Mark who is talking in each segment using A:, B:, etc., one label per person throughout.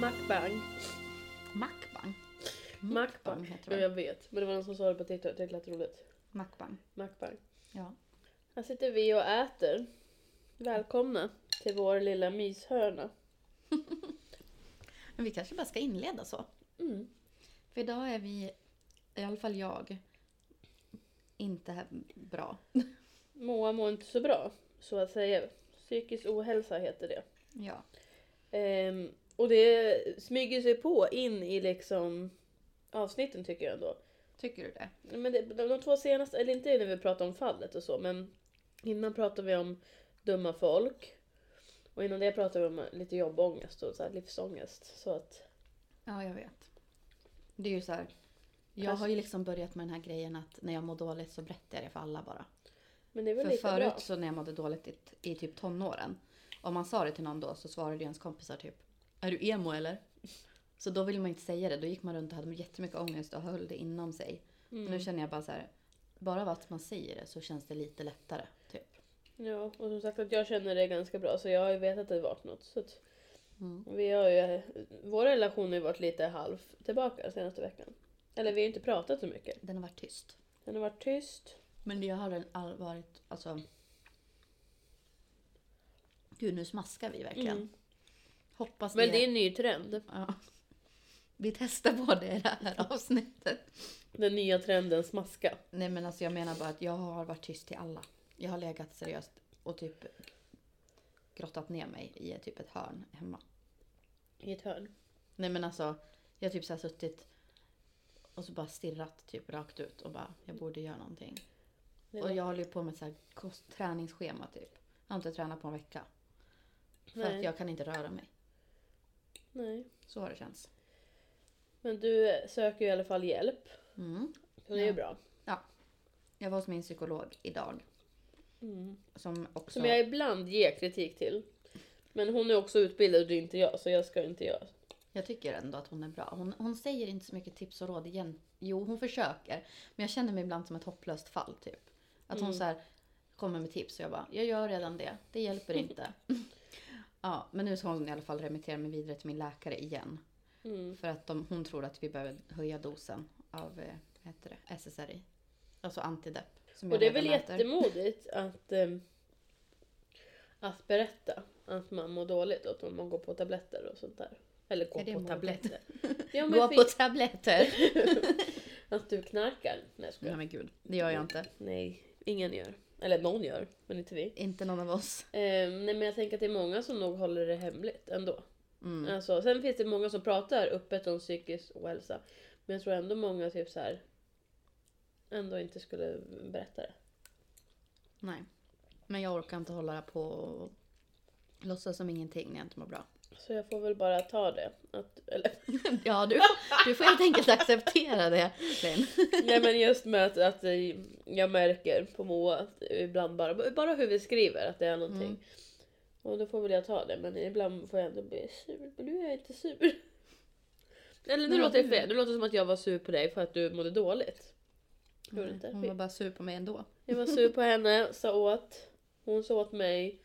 A: Macbang.
B: Macbang?
A: Macbang
B: heter
A: Jo
B: det
A: jag
B: väl?
A: vet, men det var någon som sa det på TikTok, det lät roligt.
B: Macbang.
A: Macbang.
B: Ja.
A: Här sitter vi och äter. Välkomna till vår lilla myshörna.
B: Men vi kanske bara ska inleda så.
A: Mm.
B: För idag är vi, i alla fall jag, inte här bra.
A: Moa mår inte så bra, så att säga. Psykisk ohälsa heter det.
B: Ja.
A: Ehm, och det smyger sig på in i liksom avsnitten tycker jag ändå.
B: Tycker du det?
A: Men det, de, de två senaste, eller inte när vi pratade om fallet och så, men innan pratade vi om dumma folk. Och innan det pratade vi om lite jobbångest och så här livsångest. Så att,
B: Ja, jag vet. Det är ju så här. Jag har ju liksom börjat med den här grejen att när jag mår dåligt så berättar jag det för alla bara.
A: men det är väl
B: För
A: lika
B: förut
A: bra.
B: så när jag mådde dåligt i, i typ tonåren. Om man sa det till någon då så svarade ju ens kompisar typ Är du emo eller? Så då ville man inte säga det. Då gick man runt och hade jättemycket ångest och höll det inom sig.
A: Mm.
B: Men Nu känner jag bara så här. Bara av att man säger det så känns det lite lättare. Typ.
A: Ja, och som sagt att jag känner det ganska bra så jag har ju vetat att det varit något. Så att
B: Mm.
A: vi har ju, vår relation har ju varit lite halv tillbaka den senaste veckan. Eller vi har ju inte pratat så mycket.
B: Den har varit tyst.
A: Den har varit tyst.
B: Men jag har den all varit alltså. Gud nu smaskar vi verkligen.
A: Mm.
B: Hoppas
A: Men det är en ny trend.
B: ja. Vi testar på det i det här avsnittet.
A: Den nya trenden smaska.
B: Nej men alltså jag menar bara att jag har varit tyst till alla. Jag har legat seriöst och typ grottat ner mig i typ ett hörn hemma.
A: I ett hörn.
B: Nej men alltså, jag har typ så här suttit och så bara stirrat typ rakt ut och bara, jag borde göra någonting.
A: Det är
B: Och jag håller ju på med ett så här kost- träningsschema typ. Jag har inte tränat på en vecka. För
A: Nej.
B: att jag kan inte röra mig.
A: Nej.
B: Så har det känts.
A: Men du söker ju i alla fall hjälp.
B: Mm.
A: Och det är ju
B: Ja.
A: bra.
B: Jag var hos min psykolog idag. Som också...
A: Mm. Som jag ibland ger kritik till. Men hon är också utbildad och det är inte jag så jag ska inte göra.
B: Jag tycker ändå att hon är bra. Hon, hon säger inte så mycket tips och råd igen. Jo, hon försöker. Men jag känner mig ibland som ett hopplöst fall typ. Att
A: Mm.
B: hon så här kommer med tips och jag bara, jag gör redan det. Det hjälper inte. ja, men nu ska hon i alla fall remittera mig vidare till min läkare igen.
A: Mm.
B: För att de, hon tror att vi behöver höja dosen av, eh, vad heter det, SSRI. Alltså antidepp. Som
A: Och det är
B: redan
A: väl
B: äter.
A: jättemodigt att, ehm, att berätta att man mår dåligt och att man går på tabletter och sånt där. Eller gå
B: Är det
A: på
B: modigt?
A: tabletter. Ja, men
B: Gå
A: för-
B: på tabletter!
A: Att du knarkar. Nej jag skojar.
B: Nej men gud, det gör jag inte.
A: Nej, ingen gör. Eller någon gör, men inte vi.
B: Inte någon av oss.
A: Ehm, nej men jag tänker att det är många som nog håller det hemligt ändå.
B: Mm.
A: Alltså, sen finns det många som pratar öppet om psykisk ohälsa. Men jag tror ändå många typ så här ändå inte skulle berätta det.
B: Nej. Men jag orkar inte hålla på och låtsas som ingenting när jag inte mår bra.
A: Så jag får väl bara ta det. Att, eller,
B: Ja, du, du får helt enkelt acceptera det, Linn.
A: nej men just med att, att eh, jag märker på Moa att ibland bara, bara hur vi skriver att det är någonting.
B: Mm.
A: Och då får väl jag ta det men ibland får jag ändå bli sur. Men nu är jag inte sur. Eller nu
B: Men
A: låter det
B: du-
A: fel. Nu låter det som att jag var sur på dig för att du mådde dåligt. Gjorde du inte?
B: Hon var bara sur på mig ändå.
A: Jag var sur på henne, sa åt. Hon sa åt mig.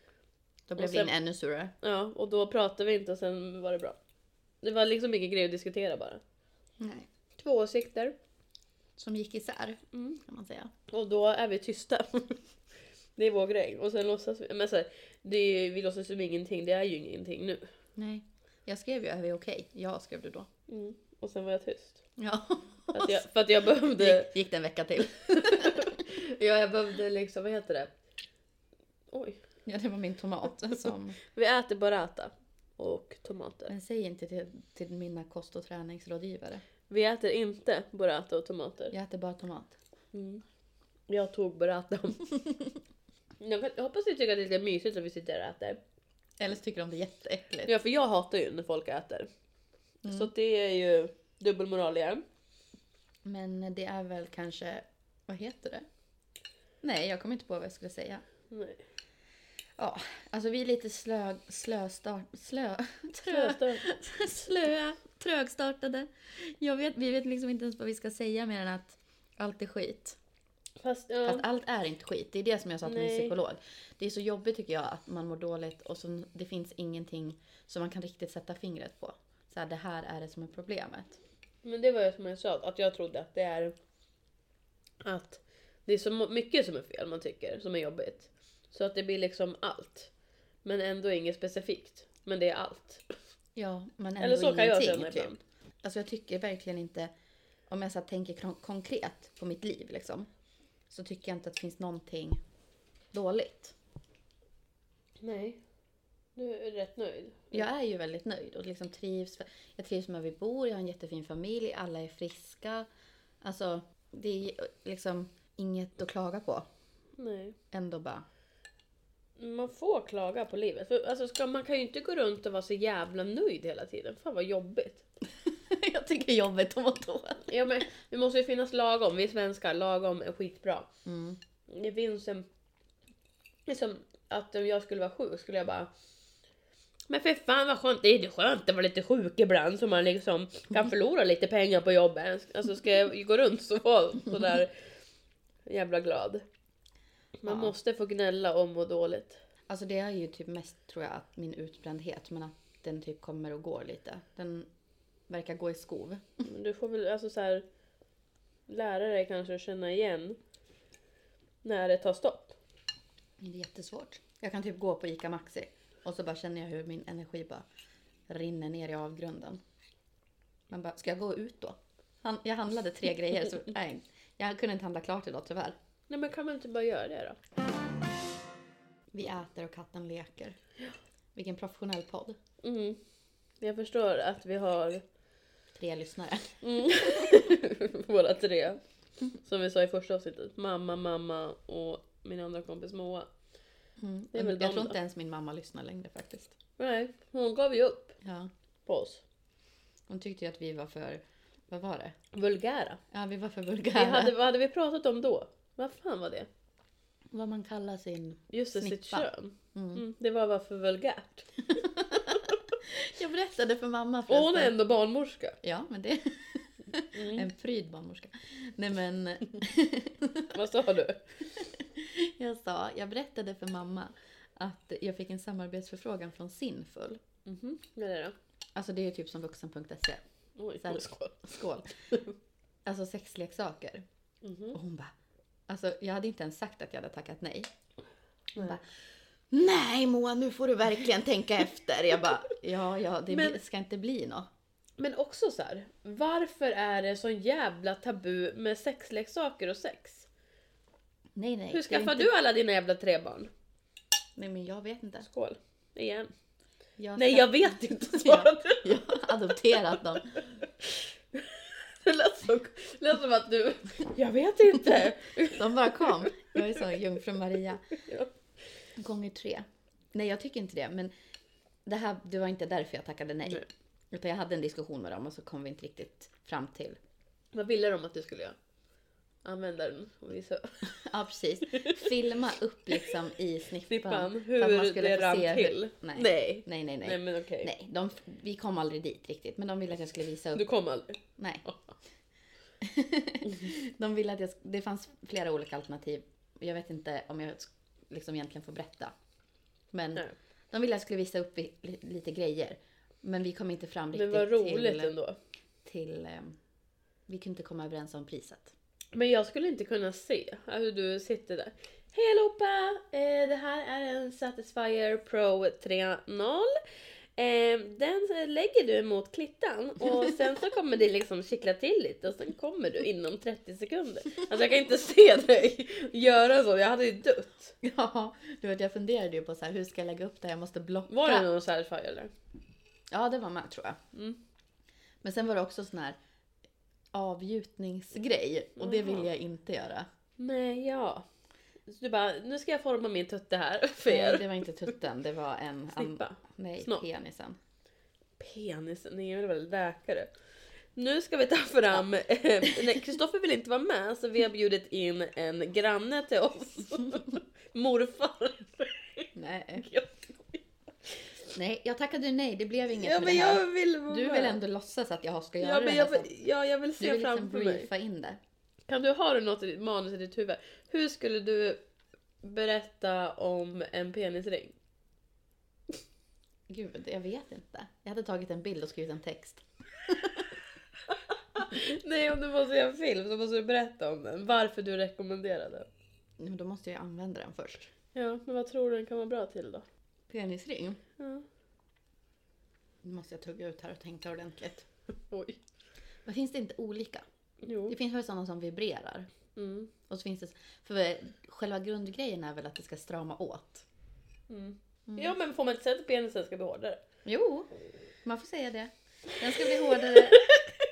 B: Då
A: Och
B: blev
A: sen-
B: Linn ännu surare.
A: Ja, och då pratade vi inte och sen var det bra. Det var liksom ingen grej att diskutera bara.
B: Nej.
A: Två åsikter.
B: Som gick isär,
A: Mm.
B: kan man säga.
A: Och då är vi tysta. det är vår grej. Och sen låtsas vi. Men så här, det är, vi låtsas som ingenting. Det är ju ingenting nu.
B: Nej. Jag skrev ju är vi okej? Ja, skrev du då.
A: Och sen var jag tyst.
B: Ja.
A: För att jag, för att jag behövde...
B: Gick, gick det en vecka till.
A: Ja, jag behövde liksom, vad heter det? Oj.
B: Ja, det var min tomat som...
A: Vi äter burrata och tomater.
B: Men säg inte till, till mina kost och träningsrådgivare.
A: Vi äter inte burrata och tomater.
B: Jag äter bara tomat.
A: Mm. Jag tog burrata. jag, kan, jag hoppas ni tycker att det är lite mysigt att vi sitter och äter.
B: Eller så tycker de det är jätteäckligt.
A: Ja, för jag hatar ju när folk äter. Så att det är ju dubbelmoral igen.
B: Men det är väl kanske, vad heter det? Nej, jag kommer inte på vad jag skulle säga.
A: Nej.
B: Ja, alltså vi är lite slö, slöstart, slö, trö,
A: Trösta.
B: slöa, trögstartade. Jag vet, vi vet liksom inte ens vad vi ska säga mer än att allt är skit.
A: Fast, ja.
B: Fast allt är inte skit, det är det som jag sa till min
A: Nej.
B: psykolog. Det är så jobbigt tycker jag att man mår dåligt och så, det finns ingenting som man kan riktigt sätta fingret på. Så så här, det här är det som är problemet.
A: Men det var ju som jag sa, att jag trodde att det är att det är så mo- mycket som är fel man tycker, som är jobbigt. Så att det blir liksom allt. Men ändå inget specifikt. Men det är allt.
B: Ja, men ändå
A: Eller så kan jag
B: ingenting,
A: känna
B: typ.
A: ibland.
B: Alltså jag tycker verkligen inte, om jag så här tänker kon- konkret på mitt liv liksom, så tycker jag inte att det finns någonting dåligt.
A: Nej. Du är rätt nöjd.
B: Jag är ju väldigt nöjd och liksom trivs. Jag trivs med var vi bor, jag har en jättefin familj, alla är friska. Alltså, det är liksom inget att klaga på.
A: Nej.
B: Ändå bara,
A: Man får klaga på livet. För, alltså, ska, man kan ju inte gå runt och vara så jävla nöjd hela tiden. Fan vad jobbigt.
B: jag tycker jobbet om och då.
A: Ja, men, det måste ju finnas lagom. Vi svenskar, lagom är skitbra.
B: Mm.
A: Det finns en... Liksom, att om jag skulle vara sjuk skulle jag bara... Men för fan vad skönt, det är ju skönt att vara lite sjuk ibland så man liksom kan förlora lite pengar på jobbet. Alltså ska jag gå runt så vara sådär jävla glad. Man
B: Ja.
A: måste få gnälla om och dåligt.
B: Alltså det är ju typ mest tror jag att min utbrändhet, men att den typ kommer och går lite. Den verkar gå i skov.
A: Men du får väl alltså så här lära dig kanske att känna igen när det tar stopp.
B: Det är jättesvårt. Jag kan typ gå på ICA Maxi och så bara känner jag hur min energi bara rinner ner i avgrunden. Man bara, ska jag gå ut då? Han, jag handlade tre grejer så nej, jag kunde inte handla klart idag tyvärr.
A: Nej men kan man inte bara göra det då?
B: Vi äter och katten leker. Vilken professionell podd.
A: Mm. Jag förstår att vi har
B: Tre lyssnare.
A: Mm. våra tre. Som vi sa i första avsnittet. Mamma, mamma och min andra kompis Moa.
B: Mm.
A: Det är väl
B: jag
A: de
B: tror
A: då.
B: inte ens min mamma lyssnar längre faktiskt.
A: Nej, hon gav ju upp
B: Ja.
A: på oss.
B: Hon tyckte ju att vi var för, vad var det?
A: Vulgära.
B: Ja, vi var för
A: Vi
B: vulgära.
A: hade, vad hade vi pratat om då? Vad fan var det?
B: Vad man kallar sin...
A: Just det, sitt
B: Snippa.
A: kön.
B: Mm.
A: Mm, det var bara för vulgärt.
B: Jag berättade för mamma
A: Och hon är ändå barnmorska.
B: Ja, men det...
A: Mm.
B: En pryd barnmorska. Nej men,
A: Vad sa du?
B: jag sa, jag berättade för mamma att jag fick en samarbetsförfrågan från Sinful.
A: Mhm, vad är det då?
B: Alltså det är ju typ som vuxen.se.
A: Oj,
B: Så här-
A: skål.
B: Skål! Alltså sexleksaker.
A: Mhm.
B: Och hon bara, alltså jag hade inte ens sagt att jag hade tackat nej.
A: Nej.
B: Hon bara, nej Moa nu får du verkligen tänka efter. Jag bara, ja ja det
A: Men-
B: bli- ska inte bli något.
A: Men också så här, varför är det sån jävla tabu med sexleksaker och sex?
B: Nej nej.
A: Hur
B: det är
A: skaffar
B: inte-
A: du alla dina jävla tre barn?
B: Nej men jag vet inte.
A: Skål. Igen.
B: Jag
A: Nej
B: ska-
A: jag vet inte svarade du.
B: Jag har adopterat dem.
A: Det lät, så, det lät som att du... Jag vet inte.
B: De bara kom. Jag är så jungfru Maria.
A: Ja.
B: Gånger tre. Nej, jag tycker inte det. Men det, här, det var inte därför jag tackade nej.
A: Nej.
B: Utan jag hade en diskussion med dem och så kom vi inte riktigt fram till.
A: Vad ville de att du skulle göra? Använda den och visa
B: Ja, precis. Filma upp liksom i snippan.
A: snippan
B: att man
A: hur
B: skulle
A: det
B: få
A: rann
B: se hur-
A: till.
B: Nej.
A: Nej.
B: Nej, nej,
A: Nej
B: nej.
A: men okej.
B: Nej, de, vi kom aldrig dit riktigt. Men de ville att jag skulle visa upp.
A: Du kom aldrig.
B: Nej. de ville att jag... sk- Det fanns flera olika alternativ. Jag vet inte om jag sk- liksom egentligen får berätta. Men...
A: Nej.
B: De ville att jag skulle visa upp i- li- lite grejer. Men vi kom inte fram riktigt
A: Men vad roligt
B: till...
A: ändå.
B: till ehm, vi kunde inte komma överens om priset.
A: Men jag skulle inte kunna se hur du sitter där. Hej allihopa! Eh, det här är en Satisfyer Pro 3.0. Eh, den lägger du mot klittan och sen så kommer det liksom kittla till lite och sen kommer du inom 30 sekunder. Alltså jag kan inte se dig göra så, jag hade ju dött.
B: Ja, du vet jag funderade ju på så här, hur ska jag lägga upp det här? Jag måste blocka.
A: Var det någon Satisfyer eller?
B: Ja, det var med tror jag.
A: Mm.
B: Men sen var det också sån här avgjutningsgrej och det
A: Jaha.
B: vill jag inte göra.
A: Nej, ja. Så du bara, nu ska jag forma min tutte här för
B: Nej,
A: er.
B: det var inte tutten, det var en... an-
A: Snippa.
B: nej,
A: Snopp.
B: penisen.
A: penisen, ni är väl läkare? Nu ska vi ta fram, eh, nej Kristoffer vill inte vara med så vi har bjudit in en granne till oss. Morfar.
B: Nej.
A: Jag
B: nej, jag tackade nej, det blev inget
A: Ja
B: med
A: men
B: det här.
A: jag vill vara
B: Du
A: med.
B: vill ändå låtsas att jag ska göra
A: ja, men
B: det här
A: jag vill,
B: sen.
A: ja jag vill
B: Du
A: se
B: vill liksom
A: framför mig.
B: briefa in det.
A: Kan du, ha du något i ditt manus i ditt huvud? Hur skulle du berätta om en penisring?
B: Gud, jag vet inte. Jag hade tagit en bild och skrivit en text.
A: Nej, om du måste göra en film så måste du berätta om den. Varför du rekommenderar den.
B: Men då måste jag använda den först.
A: Ja, men vad tror du den kan vara bra till då?
B: Penisring.
A: Ja.
B: Nu måste jag tugga ut här och tänka ordentligt.
A: Oj.
B: Men finns det inte olika?
A: Jo.
B: Det finns väl sådana som vibrerar?
A: Mm.
B: Och så finns det... För själva grundgrejen är väl att det ska strama åt?
A: Mm. Ja, men får man inte säga att penisen ska bli hårdare?
B: Jo, man får säga det. Den ska bli hårdare.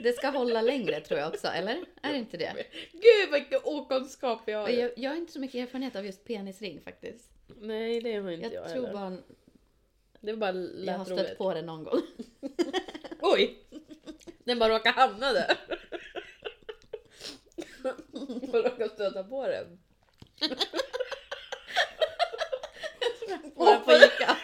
B: Det ska hålla längre tror jag också, eller? Är det inte det?
A: Gud vilken okunskap jag har.
B: Och Jag, jag har inte så mycket erfarenhet av just penisring faktiskt.
A: Nej, det har inte
B: Jag,
A: jag,
B: tror
A: heller.
B: bara
A: Det var bara
B: jag har
A: lät
B: stött
A: roligt.
B: på det någon gång.
A: Oj! Den bara råkade hamna där. Jag råkade stöta på den.
B: På den på Ica.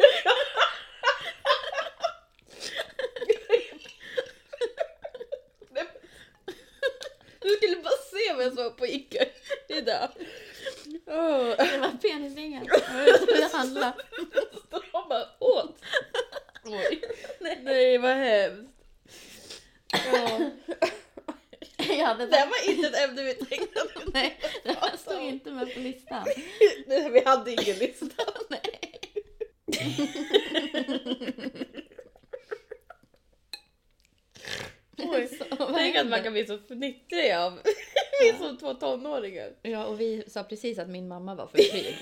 A: Du skulle bara se vad jag såg på Ica idag. Oh.
B: Det var penisringen. Jag tog det handla.
A: Står de bara åt? Oj. Nej, vad hemskt. Ja.
B: Jag hade
A: Det Alltså. här var inte ett ämne vi tänkte att vi
B: Nej, det här stod inte med på listan.
A: Nej, vi hade ingen lista.
B: Nej.
A: Oj,
B: Så, vad
A: Tänk att
B: händer?
A: man kan bli så fnittrig av... Vi är som två tonåringar.
B: Ja, och vi sa precis att min mamma var för pryd.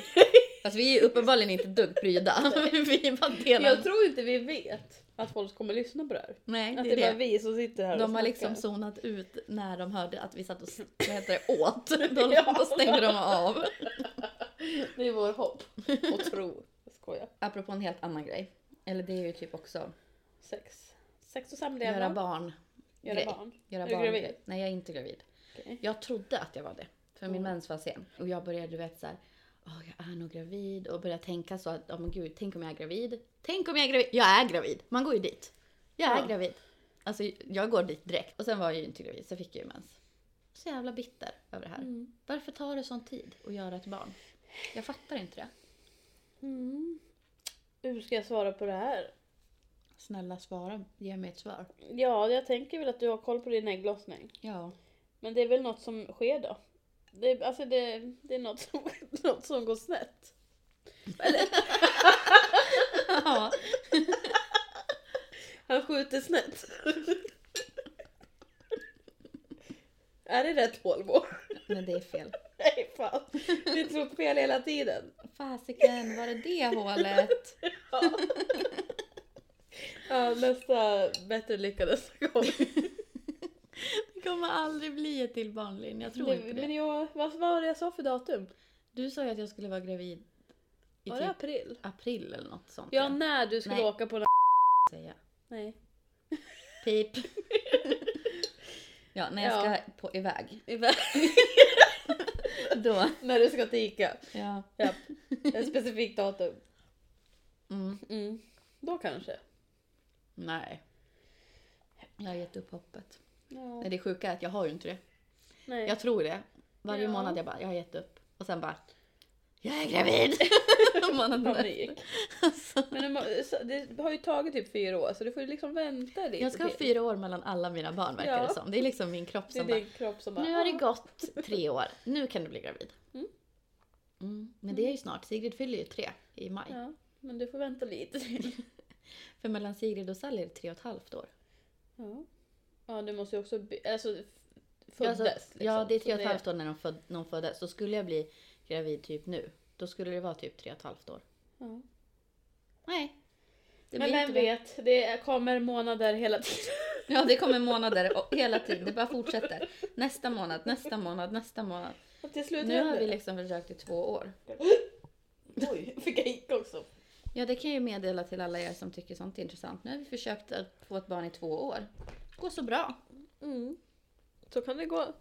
B: Alltså vi är ju uppenbarligen inte ett dugg pryda. vi är bara delar.
A: Jag tror inte vi vet att folk kommer lyssna på det här.
B: Nej,
A: Att det
B: det
A: är bara
B: är det.
A: vi som sitter här och
B: De har
A: snackar.
B: liksom zonat ut när de hörde att vi satt och s- vad heter det, åt. Då, då stängde de av.
A: Det är vår hopp och tro. Jag skojar.
B: Apropå en helt annan grej. Eller det är ju typ också
A: Sex. Sex och
B: göra
A: samlevnad.
B: barn.
A: Göra
B: grej.
A: barn.
B: Göra
A: Är du
B: barn.
A: gravid?
B: Nej, jag är inte gravid.
A: Okej.
B: Jag trodde att jag var det. För min
A: Mm.
B: mens var sen. Och jag började du vet så här. "Åh, jag är nog gravid. Och började tänka så att, ja men gud, tänk om jag är gravid. Tänk om jag är gravid. Jag är gravid. Man går ju dit. Jag är
A: Ja.
B: gravid. Alltså jag går dit direkt. Och sen var jag ju inte gravid, så fick jag ju mens. Så jävla bitter över det här.
A: Mm.
B: Varför tar det sån tid att göra ett barn? Jag fattar inte det.
A: Mm. Hur ska jag svara på det här?
B: Snälla svara, ge mig ett svar.
A: Ja, jag tänker väl att du har koll på din ägglossning.
B: Ja.
A: Men det är väl något som sker då. Det är, alltså det, det är något som, något som går snett.
B: ja.
A: Han skjuter snett. är det rätt Volvo?
B: Men det är fel.
A: Nej fan. Vi har trott fel hela tiden.
B: Fasiken, var det det hålet?
A: Ja. ja, nästa bättre lycka nästa gång.
B: Det kommer aldrig bli ett till barnlin, jag tror inte det.
A: Men jag, vad vad var det jag sa för datum?
B: Du sa ju att jag skulle vara gravid i
A: Var det
B: typ
A: april?
B: april eller något sånt.
A: Ja, när du skulle
B: Nej.
A: åka på den
B: säga.
A: Nej.
B: Pip. ja, när jag
A: Ja.
B: ska på, iväg.
A: Iväg.
B: Då.
A: när du ska till Ica.
B: Ja.
A: Ja. Ett specifikt datum.
B: Mm.
A: Mm. Då kanske.
B: Nej. Jag har gett upp hoppet.
A: Ja.
B: Nej, det sjuka är att jag har ju inte det.
A: Nej.
B: Jag tror det. Varje
A: Ja.
B: månad jag bara, jag har gett upp. Och sen bara, jag är gravid! Månaden
A: Panik.
B: efter. Alltså,
A: Men de har- så- det har ju tagit typ fyra år så du får ju liksom vänta lite
B: jag ska ha
A: till.
B: fyra år mellan alla mina barn verkar
A: Ja.
B: det som. Det är liksom min kropp
A: Det är
B: som bara,
A: din kropp som bara... "Ah."
B: nu har det gått tre år, nu kan du bli gravid.
A: Mm.
B: Mm. Men det är ju snart, Sigrid fyller ju tre i maj.
A: Ja, men du får vänta lite till.
B: För mellan Sigrid och Sally är det tre och ett halvt år.
A: Ja. ja, du måste ju också... By- alltså, f-
B: Ja,
A: föddes liksom.
B: alltså, Ja, det är tre och
A: Så
B: ett halvt år när de, föd, när de föddes. Så skulle jag bli gravid typ nu, då skulle det vara typ tre och ett halvt år.
A: Ja.
B: Nej. Det
A: Men
B: blir
A: vem
B: inte det.
A: vet, det kommer månader hela tiden.
B: Ja, det kommer månader och hela tiden. Det bara fortsätter. Nästa månad, nästa månad, nästa månad.
A: Och till slut
B: Nu har vi
A: händer
B: liksom försökt i två år.
A: det. Oj, fick jag gick också.
B: Ja, det kan jag ju meddela till alla er som tycker sånt är intressant. Nu har vi försökt att få ett barn i två år. Det går så bra.
A: Mm. Så kan det gå.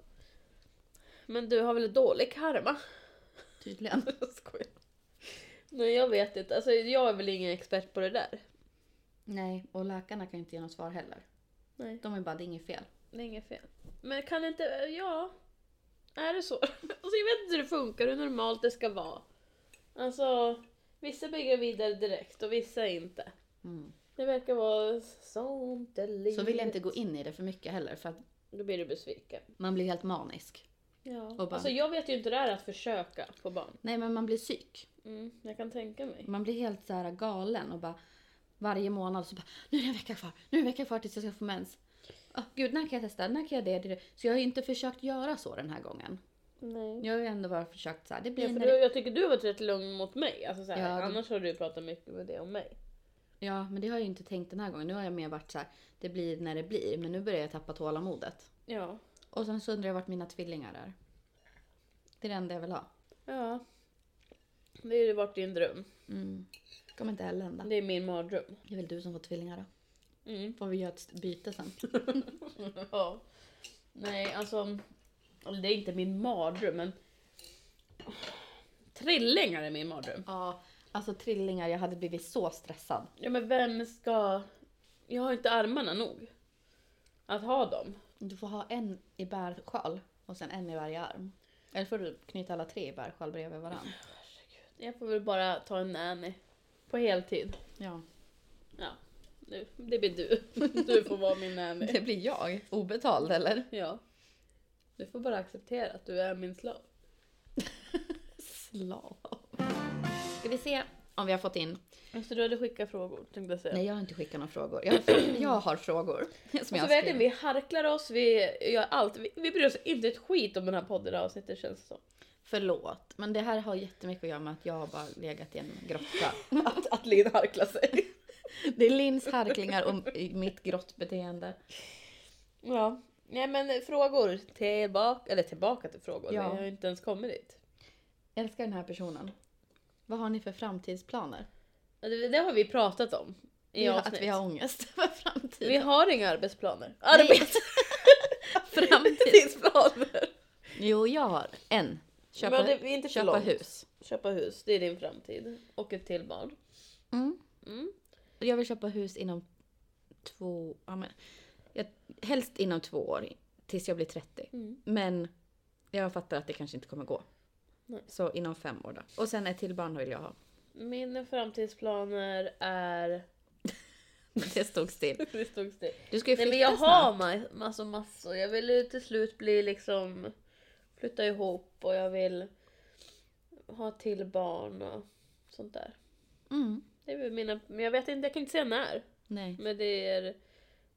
A: Men du har väl dålig karma?
B: Tydligen.
A: Jag skojar. Nej jag vet inte, alltså, jag är väl ingen expert på det där.
B: Nej, och läkarna kan ju inte ge något svar heller.
A: Nej.
B: De är bara, det är inget fel.
A: Det är inget fel. Men kan inte, ja. Är det så? Alltså, jag vet inte hur det funkar, hur normalt det ska vara. Alltså, vissa blir gravida direkt och vissa inte.
B: Mm.
A: Det verkar vara sånt liv.
B: Så vill jag inte gå in i det för mycket heller för att
A: Då blir du besviken.
B: man blir helt manisk.
A: Ja.
B: bara-
A: Alltså jag vet ju inte hur det är att försöka på barn.
B: Nej men man blir psyk.
A: Mm, jag kan tänka mig.
B: Man blir helt så här galen och bara varje månad så bara nu är det en vecka kvar, nu är det en vecka kvar tills jag ska få mens. Åh, gud, när kan jag testa? När kan jag det? det, det? Så jag har ju inte försökt göra så den här gången.
A: Nej.
B: Jag har ju ändå bara försökt så här, det blir
A: Ja, för
B: när
A: du,
B: det...
A: jag tycker du har varit rätt lugn mot mig. Alltså, så här,
B: Ja, det-
A: Annars har du pratat mycket med det om mig.
B: Ja, men det har jag ju inte tänkt den här gången. Nu har jag mer varit så här, det blir när det blir. Men nu börjar jag tappa tålamodet.
A: Ja.
B: Och sen så undrar jag vart mina tvillingar är. Det är det enda jag vill ha.
A: Ja. Det har ju varit din dröm.
B: Mm. Kommer inte heller hända.
A: Det är min mardröm.
B: Det är väl du som får tvillingar då.
A: Mm.
B: Får vi göra ett byte sen?
A: Ja. Nej, alltså. eller Det är inte min mardröm, men. Trillingar är min mardröm.
B: ja, alltså trillingar, jag hade blivit så stressad.
A: Ja, men vem ska... Jag har inte armarna nog. Att ha dem.
B: Du får ha en i bärsjal och sen en i varje arm. Eller får du knyta alla tre i bärsjal bredvid varandra.
A: Jag får väl bara ta en nanny. På heltid.
B: Ja.
A: Ja. Nu, det blir du. Du får vara min nanny.
B: Det blir jag. Obetald eller?
A: Ja. Du får bara acceptera att du är min slav.
B: Slav. Ska vi se om vi har fått in.
A: Alltså du hade skickat frågor tänkte jag säga.
B: Nej, jag har inte skickat några frågor. Jag har, frågor. Jag har frågor. Som
A: Alltså
B: jag
A: verkligen,
B: verkligen
A: vi harklar oss, vi gör allt. Vi, vi bryr oss inte ett skit om den här podden och avsnittet känns det som.
B: Förlåt, men det här har jättemycket att göra med att jag har bara legat i en grotta.
A: Att, att Linn harklar sig.
B: Det är Lins harklingar och mitt grottbeteende.
A: Ja. Nej men frågor tillbaka, eller tillbaka till frågor.
B: Ja.
A: Jag har ju inte ens kommit dit.
B: Jag älskar den här personen. Vad har ni för framtidsplaner?
A: Det, det har vi pratat om i
B: Ja,
A: avsnitt.
B: att vi har ångest för
A: vi
B: framtiden.
A: har inga arbetsplaner.
B: Nej. Framtid.
A: Arbetstidsplaner!
B: Jo, jag har en. Köpa,
A: Men det är inte för
B: köpa
A: långt.
B: hus.
A: Köpa hus, det är din framtid. Och ett till barn.
B: Mm.
A: Mm.
B: Jag vill köpa hus inom två... Ja, men, jag, helst inom två år, tills jag blir 30.
A: Mm.
B: Men jag fattar att det kanske inte kommer gå.
A: Nej.
B: Så inom fem år då. Och sen ett till barn vill jag ha.
A: Mina framtidsplaner är...
B: Det stod still.
A: Det stod still.
B: Du ska ju
A: Nej
B: flytta
A: men jag
B: snart.
A: har ma- massor, massor. Jag vill ju till slut bli liksom... Flytta ihop och jag vill ha ett till barn och sånt där.
B: Mm.
A: Det är väl mina... Men jag vet inte, jag kan inte säga när.
B: Nej.
A: Men det är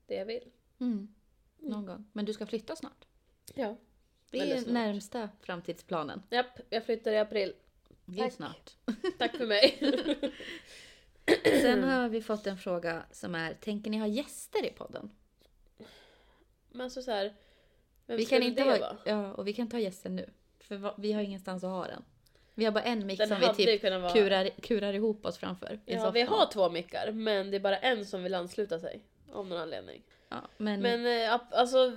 A: det jag vill.
B: Mm. Någon gång. Men du ska flytta snart.
A: Ja.
B: Det är
A: Väldigt snart.
B: närmsta framtidsplanen.
A: Japp, jag flyttar i april.
B: Det är
A: Tack.
B: snart.
A: Tack för mig.
B: Sen har vi fått en fråga som är, tänker ni ha gäster i podden?
A: men alltså så, så här, vem
B: Vi kan
A: skulle
B: inte
A: det
B: ha,
A: vara?
B: ja, och vi kan inte ha gäster nu. För va- vi har ingenstans att ha den. Vi har bara en mick
A: Den
B: som vi
A: hade ju
B: typ
A: kunnat vara...
B: kurar, kurar ihop oss framför. i
A: Ja,
B: soffan.
A: vi har två mickar men det är bara en som vill ansluta sig. Av någon anledning.
B: ja, men,
A: Men eh, ap- alltså,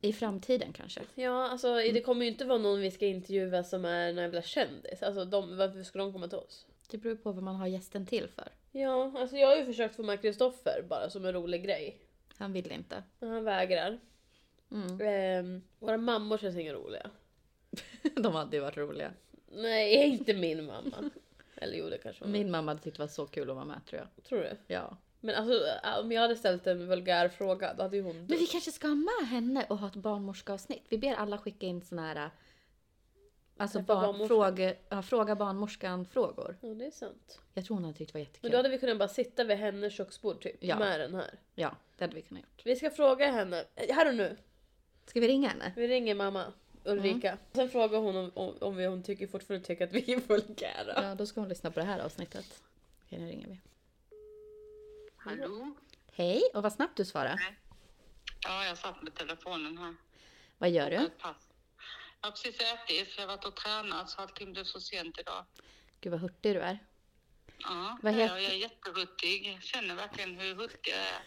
B: i framtiden kanske.
A: ja, alltså det kommer ju inte vara någon vi ska intervjua som är någon jävla kändis. Alltså de, varför ska de komma till oss?
B: Det beror på vad man har gästen till för.
A: Ja, alltså jag har ju försökt få med Kristoffer bara som en rolig grej.
B: Han vill inte.
A: Men han vägrar.
B: Mm.
A: Ehm, våra mammor känns inga roliga.
B: De hade ju varit roliga.
A: Nej, inte min mamma. Eller jo, det kanske hon är.
B: Min mamma hade tyckt det var så kul att vara med tror jag.
A: Tror du?
B: Ja.
A: Men alltså om jag hade ställt en vulgär fråga då hade ju hon
B: Men vi kanske ska ha med henne och ha ett barnmorskeavsnitt. Vi ber alla skicka in såna här... äh, Alltså
A: Träffa
B: barn,
A: barnmorskan.
B: fråga, ja, fråga barnmorskan-frågor.
A: Ja det är sant.
B: Jag tror hon hade tyckt det var
A: Men
B: jättekul.
A: då hade vi kunnat bara sitta vid hennes köksbord typ
B: Ja.
A: med den här.
B: Ja, det hade vi kunnat gjort.
A: Vi ska fråga henne, här och nu.
B: Ska vi ringa henne?
A: Vi ringer mamma Ulrika. Sen frågar hon om, om, om vi, hon tycker, fortfarande tycker att vi är vulgära.
B: Ja, då ska hon lyssna på det här avsnittet. Okej, nu ringer vi.
C: Hallå?
B: Hej, och vad snabbt du svarar.
C: Ja, jag satt med telefonen här.
B: Vad gör du?
C: Ett pass. Jag har precis ätit, för jag har varit och tränat, så allting blev så sent idag.
B: Gud vad hurtig du är.
C: Ja,
B: Vad heter-
C: ja, jag är jättehurtig. Jag känner verkligen hur hurtig jag är.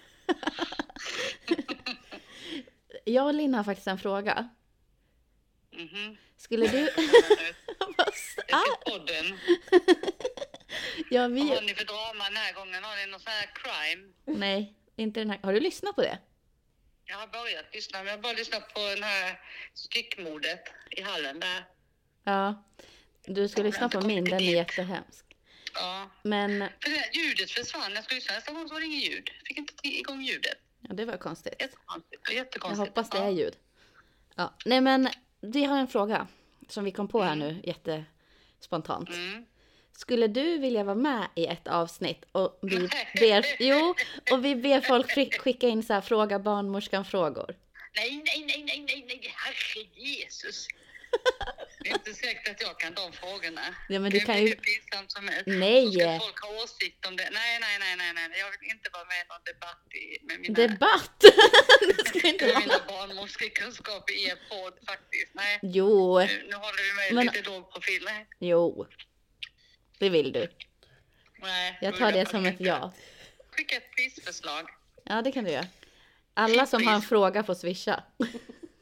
B: Jag och Linn har faktiskt en fråga.
C: Mhm.
B: Skulle du... Vad sa-
C: Jag ser podden.
B: ja,
C: Vad har
B: Ah! vi...
C: ni för drama den här gången? Har ni någon sån här crime?
B: Nej, inte den här. Har du lyssnat på det?
C: Jag har börjat lyssna, men jag har bara lyssnat på den här styckmordet i hallen där.
B: Ja. Du ska lyssna på min, den är jättehemsk.
C: Ja.
B: Men
C: För det här ljudet försvann. Jag skulle ju säga nästa gång så var det inget ljud. Fick inte t- igång ljudet.
B: ja, det var konstigt.
C: Jättekonstigt.
B: Jag
C: Jättekonstigt.
B: hoppas det
C: Ja.
B: är ljud. Ja. Nej men vi har en fråga som vi kom på här nu jättespontant.
C: Mm.
B: Skulle du vilja vara med i ett avsnitt och vi ber, jo, och vi ber folk fri- skicka in så här fråga barnmorskan frågor?
C: Nej, nej, nej, nej, nej, nej, herre Jesus. Det är inte säkert att jag kan de frågorna.
B: Ja, men du
C: Det
B: kan
C: blir
B: ju-
C: hur pinsamt som helst.
B: Nej.
C: Så Ska folk ha åsikt om det? Nej, nej, nej, nej, nej. Jag vill inte vara med i någon debatt i, med mina,
B: Debatt! det ska inte
C: med
B: vara.
C: mina barnmorskekunskaper i er podd faktiskt. Nej,
B: Jo,
C: nu, nu håller vi mig
B: Men-
C: lite låg profil. Nej,
B: jo. Det vill du.
C: nej.
B: Jag
C: då
B: tar
C: vill
B: det som ett
C: faktiskt
B: ja.
C: inte. Skicka ett prisförslag.
B: Ja, det kan du göra. Alla som har en fråga får swisha.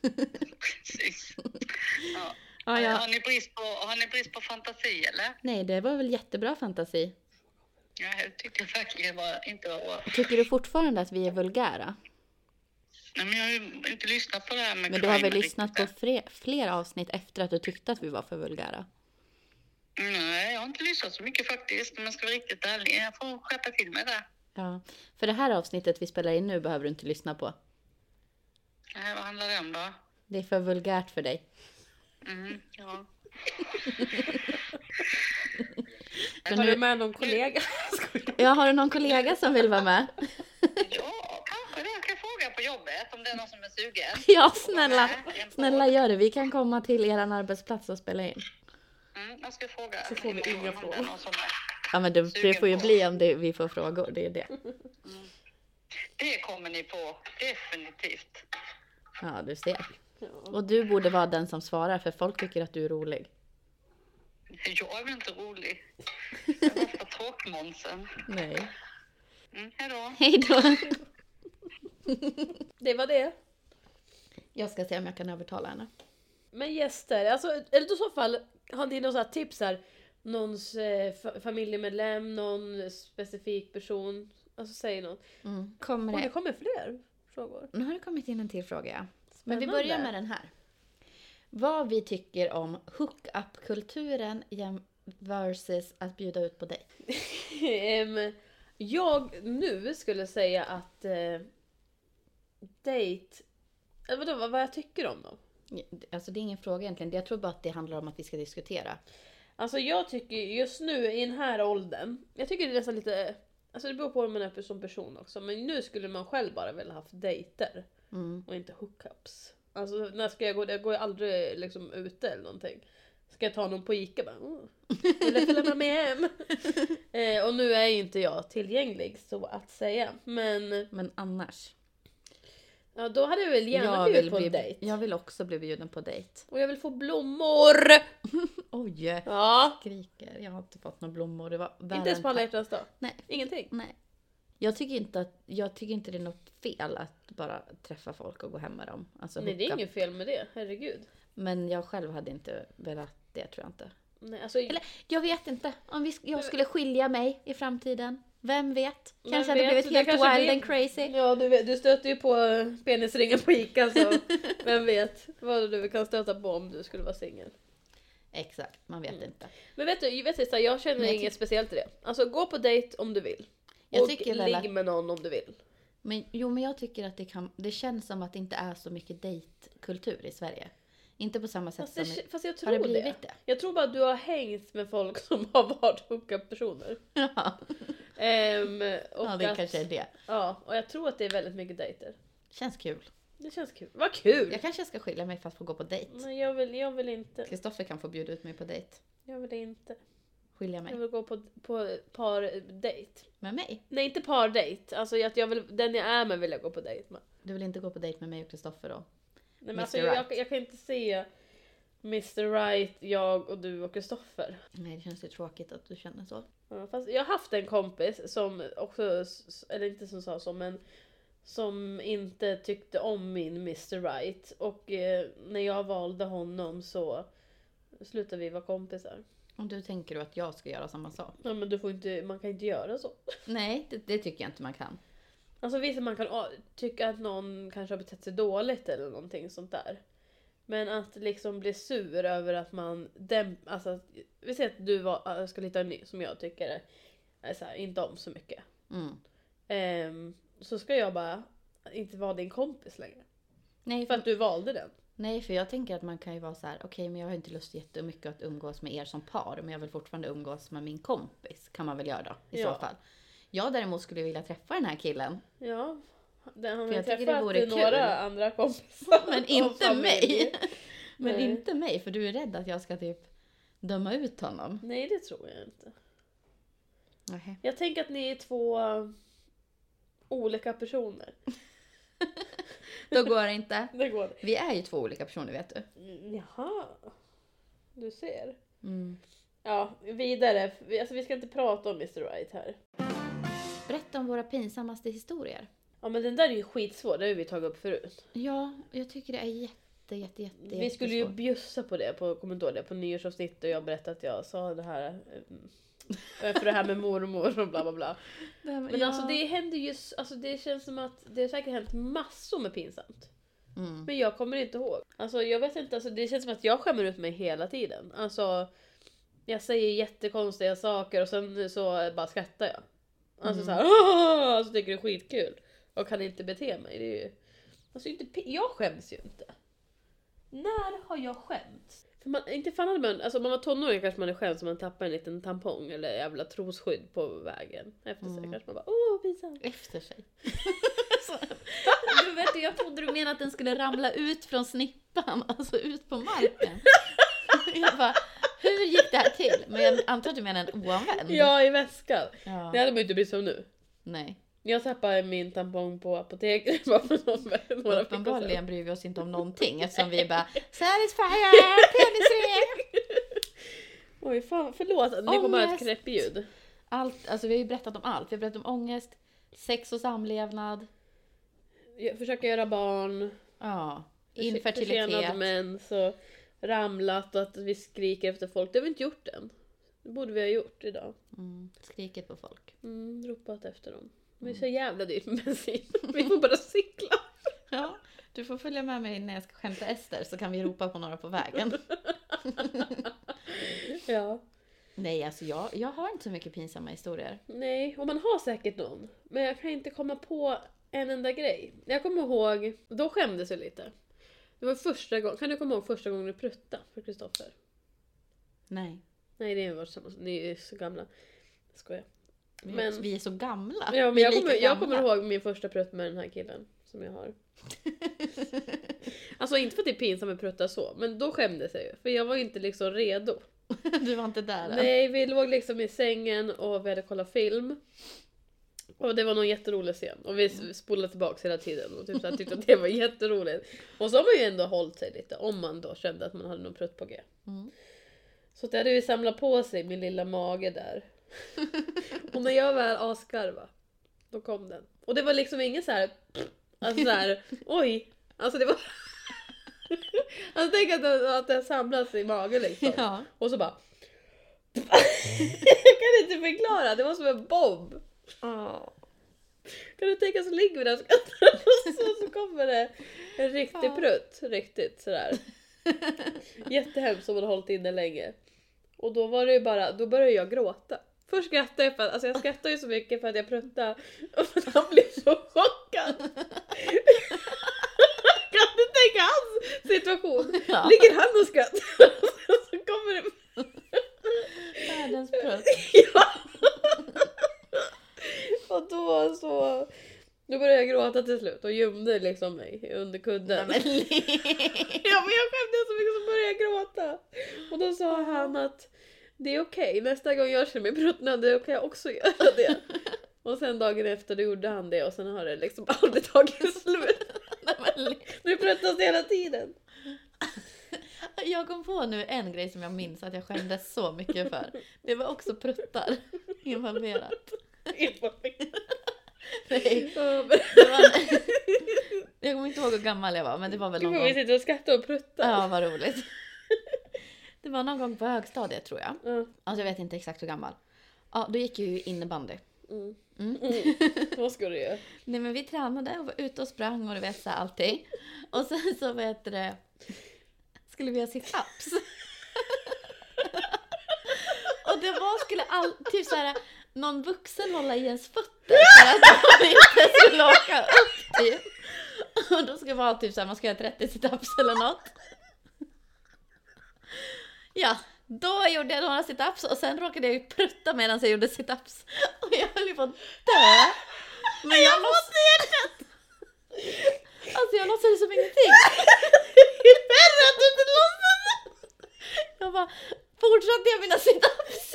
C: Precis. Ja.
B: Ja, ja.
C: Har, ni brist på, har ni brist på fantasi eller?
B: Nej, det var väl jättebra fantasi.
C: Ja, jag tyckte verkligen var, inte var bra.
B: Tycker du fortfarande att vi är vulgära?
C: Nej, men jag har ju inte lyssnat på det här med
B: Men du har väl
C: Kramer
B: lyssnat på
C: riktigt
B: fre- fler avsnitt efter att du tyckte att vi var för vulgära?
C: än. Nej, jag har inte lyssnat så mycket faktiskt. Om jag ska vara riktigt ärlig. Jag får skärpa till mig där.
B: Ja. För det här avsnittet vi spelar in nu behöver du inte lyssna på.
C: Nej, vad handlar det om då?
B: Det är för vulgärt för dig.
C: Mm, ja.
B: Så
A: Har du
B: nu,
A: med någon kollega? Skojar.
B: ja, har du någon kollega som vill vara med?
C: ja, kanske det. Jag kan fråga på jobbet om det är någon som är sugen.
B: Ja, snälla. Snälla gör det. Vi kan komma till er arbetsplats och spela in.
C: Mm, jag ska fråga.
A: Så får vi
C: imorgon
A: inga
C: om det är
A: frågor.
C: någon som är-
B: Ja, men det, det får ju bli om det, vi får frågor. Det är det.
C: Det kommer ni på, definitivt.
B: Ja, du ser.
A: Ja.
B: Och du borde vara den som svarar för folk tycker att du är rolig.
C: Jag är väl inte rolig. Jag var för tråkmånsen.
B: Nej.
C: Mm, hejdå.
B: Hej då.
A: Det var det.
B: Jag ska se om jag kan övertala henne.
A: Men gäster, alltså, eller i så fall, har ni några tips här? Någons eh, fa- familjemedlem, någon specifik person? Alltså säg någon.
B: Mm. Kommer
A: Och det
B: det?
A: kommer fler frågor.
B: Nu har det kommit in en till fråga. ja. Men vi
A: Spännande.
B: börjar med den här. Vad vi tycker om hookup-kulturen jäm- versus att bjuda ut på dig.
A: Ehm, jag nu skulle säga att eh, date... Eller vadå, vad, vad jag tycker om dem?
B: Alltså det är ingen fråga egentligen. Jag tror bara att det handlar om att vi ska diskutera.
A: Alltså jag tycker just nu i den här åldern, jag tycker det är nästan lite... Alltså det beror på hur man är som person också, men nu skulle man själv bara vilja haft dejter.
B: Mm.
A: och inte hookups. Alltså när ska jag gå? Jag går ju aldrig liksom ute eller någonting. Ska jag ta någon på Ica bara, "Åh, vill du följa med mig hem? eh, och nu är ju inte jag tillgänglig så att säga. Men
B: Men annars.
A: ja, då hade jag väl gärna blivit på en dejt.
B: jag vill också bli bjuden på dejt.
A: Och jag vill få blommor!
B: Oj!
A: Ja!
B: Skriker. Jag har inte fått några blommor. Det var
A: Inte ens på alla
B: Valentine-
A: hjärtans dag.
B: Nej,
A: Ingenting.
B: Nej. Jag tycker, inte att, jag tycker inte det är något fel att bara träffa folk och gå hem med dem. Alltså
A: Nej det är
B: hooka.
A: inget fel med det, herregud.
B: Men jag själv hade inte velat det tror jag inte.
A: Nej, alltså,
B: Eller jag vet inte. Om vi, sk- jag skulle skilja mig i framtiden. Vem vet?
A: Vem
B: Kanske hade
A: vet?
B: blivit
A: Det
B: helt
A: kanske
B: wild
A: blir-
B: and crazy.
A: ja du, vet, du stöter ju på eh, penisringen på Ica så vem vet vad du kan stöta på om du skulle vara singel.
B: Exakt, man
A: Mm.
B: vet inte.
A: Men vet du, vet du så här, jag känner
B: Men jag
A: inget speciellt i det. Alltså gå på dejt om du vill.
B: Jag
A: och
B: tycker väl
A: ligg
B: att-
A: med någon om du vill.
B: Men, jo men jag tycker att det, kan, det känns som att det inte är så mycket dejtkultur i Sverige. Inte på samma sätt
A: Fast, det,
B: som... i-
A: fast jag
B: Har det
A: tror det,
B: blivit det?
A: Jag tror bara att du har hängt med folk som har varit hookup-personer.
B: Ja,
A: Ehm, och
B: ja det
A: att,
B: kanske är det.
A: Ja, och jag tror att det är väldigt mycket dejter.
B: Känns kul.
A: Det känns kul. Vad kul!
B: Jag kanske ska skilja mig för att få gå på dejt.
A: Men jag vill, jag vill inte.
B: Kristoffer kan få bjuda ut mig på dejt.
A: Jag vill inte.
B: Skilja
A: Jag
B: mig.
A: vill gå på, på par-dejt.
B: Med mig?
A: Nej, inte par-dejt. Alltså att jag vill, den jag är med vill jag gå på dejt med.
B: Du vill inte gå på dejt med mig och Kristoffer då?
A: Nej, men
B: Mr.
A: alltså, jag,
B: Right.
A: jag kan inte se Mr Right, jag och du och Kristoffer.
B: Nej, det känns ju tråkigt att du känner så.
A: Ja, Fast jag har haft en kompis som också, eller inte som sa så men som inte tyckte om min Mr Right och eh, när jag valde honom så slutade vi vara kompisar.
B: Om du tänker du att jag ska göra samma sak?
A: Ja, men du får inte, man kan inte göra så.
B: Nej, det, det tycker jag inte man kan.
A: Alltså visst man kan a- tycka att någon kanske har betett sig dåligt eller någonting sånt där. Men att liksom bli sur över att man dämp, alltså att, vi säger att du var, äh, ska hitta en ny som jag tycker är så här, inte om så mycket.
B: Mm.
A: Ehm, så ska jag bara inte vara din kompis längre.
B: Nej,
A: För att du valde den.
B: Nej, för jag tänker att man kan ju vara så här, okej men jag har inte lust jättemycket att umgås med er som par, men jag vill fortfarande umgås med min kompis. Kan man väl göra då, i
A: Ja.
B: så fall. Jag däremot skulle vilja träffa den här killen,
A: Ja. Den har
B: För
A: väl
B: jag tycker det
A: träffat
B: vore
A: några
B: kul.
A: andra kompisar.
B: men
A: och
B: inte
A: familj.
B: mig. Men
A: Nej.
B: inte mig, för du är rädd att jag ska typ döma ut honom.
A: Nej det tror jag inte.
B: Nej.
A: Jag tänker att ni är två olika personer.
B: Då går det inte.
A: Det går.
B: Vi är ju två olika personer vet du.
A: Mm, Jaha. Du ser.
B: Mm.
A: Ja, vidare. Vi- Alltså vi ska inte prata om Mr Right här.
B: Berätta om våra pinsammaste historier.
A: Ja men den där är ju skitsvår, det har vi tagit upp förut.
B: Ja, jag tycker det är jätte, jätte, jätte
A: Vi skulle ju
B: jättesvårt.
A: bjussa på det, på, kommer du ihåg det, på nyårsavsnittet och jag berättade att jag sa det här mm, för det här med mormor och bla bla bla.
B: Det här med-
A: Men
B: ja.
A: alltså det händer ju, s- alltså det känns som att det har säkert hänt massor med pinsamt.
B: Mm.
A: Men jag kommer inte ihåg. Alltså jag vet inte, alltså det känns som att jag skämmer ut mig hela tiden. Alltså jag säger jättekonstiga saker och sen så bara skrattar jag. Alltså
B: Mm.
A: så här, "Åh!" alltså tycker det är skitkul. Och kan inte bete mig. Det är ju... Alltså inte, pi- jag skäms ju inte. När har jag skämts? För man, inte fan hade man, alltså om man var tonåring kanske man är skäms om man tappar en liten tampong eller jävla trosskydd på vägen. Efter sig
B: Mm.
A: kanske man bara åh pinsamt.
B: Efter sig. du vet, jag trodde du menade att den skulle ramla ut från snippan, alltså ut på marken. jag bara, hur gick det här till? Men jag antar att du menar en oanvänd?
A: Ja i väskan.
B: Ja.
A: Det hade man ju inte brytt sig om nu.
B: Nej,
A: Jag tappade min tampong på apoteket. bara för någon- några veckor sedan.
B: uppenbarligen bryr vi oss inte om någonting eftersom vi bara Satisfyer, penisring!
A: Oj fan, förlåt. Det var bara ett
B: Ångest.
A: knäppljud.
B: Allt, alltså vi har ju berättat om allt. Vi har berättat om ångest, sex och samlevnad,
A: Jag försöker göra barn.
B: ja,
A: Försenad
B: infertilitet.
A: mens och ramlat och att vi skriker efter folk. Det har vi inte gjort än. Det borde vi ha gjort idag.
B: Mm, skriket på folk.
A: Mm, ropat efter dem. Men det är så
B: Mm.
A: jävla dyrt med bensin. Vi får bara cykla.
B: Ja, du får följa med mig när jag ska skämta Ester så kan vi ropa på några på vägen.
A: Ja.
B: Nej, alltså jag, jag har inte så mycket pinsamma historier.
A: Nej, och man har säkert någon. Men jag kan inte komma på en enda grej. Jag kommer ihåg, då skämdes jag lite. Det var första gången, kan du komma ihåg första gången du pruttade för Kristoffer?
B: Nej.
A: Nej det är vårt samma, ni är så gamla. Skojar.
B: Vi,
A: Men-
B: vi är så gamla.
A: Ja,
B: Vi
A: men
B: är
A: jag,
B: lika
A: kommer, jag
B: gamla.
A: kommer ihåg min första prutt med den här killen som jag har. Alltså inte för att det är pinsamt att prutta så, men då skämdes jag ju. För jag var ju inte liksom redo.
B: du var inte där än.
A: Nej, vi låg liksom i sängen och vi hade kollat film. Och det var någon jätterolig scen. Och vi
B: Mm.
A: s- spolade tillbaka hela tiden och typ så här tyckte att det var jätteroligt. Och så har man ju ändå hållit sig lite om man då kände att man hade någon prutt på G.
B: Mm.
A: Så det hade ju samlat på sig min lilla mage där. och när jag väl askarva, då kom den. Och det var liksom ingen så här, alltså så här, oj. Alltså det var... alltså tänk att, det- att det samlas i magen liksom.
B: Ja.
A: Och så bara... jag kan inte förklara, det var som en bomb. Kan du tänka så ligger vi där och skrattar och så, så kommer det en riktig
B: Ja.
A: prutt. Riktigt sådär. Jättehemskt som man har hållit inne länge. Och då var det ju bara, då började jag gråta. Först skrattade jag för att, alltså jag skrattade ju så mycket för att jag pruttade. Och för att han blev så chockad. kan du tänka hans situation?
B: Ja.
A: Ligger han och skrattar? Och så kommer det
B: Världens prutt.
A: Ja. och då så... Då började jag gråta till slut och gömde liksom mig under
B: Nej,
A: kudden.
B: men
A: ja, men jag skämdes så mycket så började jag gråta. Och då sa han att det är okej, nästa gång jag känner mig bruttnad då kan jag också göra det. Och sen dagen efter då gjorde han det och sen har det liksom aldrig tagit slut.
B: men
A: Nu pruttas det hela tiden.
B: Jag kom på nu en grej som jag minns att jag skämdes så mycket för. Det var också pruttar involverat. Nej,
A: Ja, men-
B: det var... Jag kommer inte ihåg hur gammal jag var men det var väl någon
A: Gud vad vi
B: gång.
A: sitter och skrattar och pruttar.
B: Ja, vad roligt. Det var någon gång på högstadiet tror jag.
A: Ja.
B: Alltså jag vet inte exakt hur gammal. Ja, då gick jag ju innebandy.
A: Mm.
B: Mm.
A: Mm. Vad ska du göra?
B: Nej men vi tränade och var ute och sprang och du vet så här, allting. Och sen så vet du det. skulle vi göra sit-ups. och det var, skulle all, typ så här, någon vuxen hålla i ens fötter för att de inte skulle åka upp typ. Och då ska vara typ så här, man ska göra 30 sit-ups eller något. Ja, då gjorde jag några sit-ups och sen råkade jag ju prutta medan jag gjorde sit-ups. Och jag höll ju på att dö. Men jag låtsades... Alltså jag låtsades som ingenting. Det är värre att du inte låtsades! Jag bara, fortsatte jag mina sit-ups?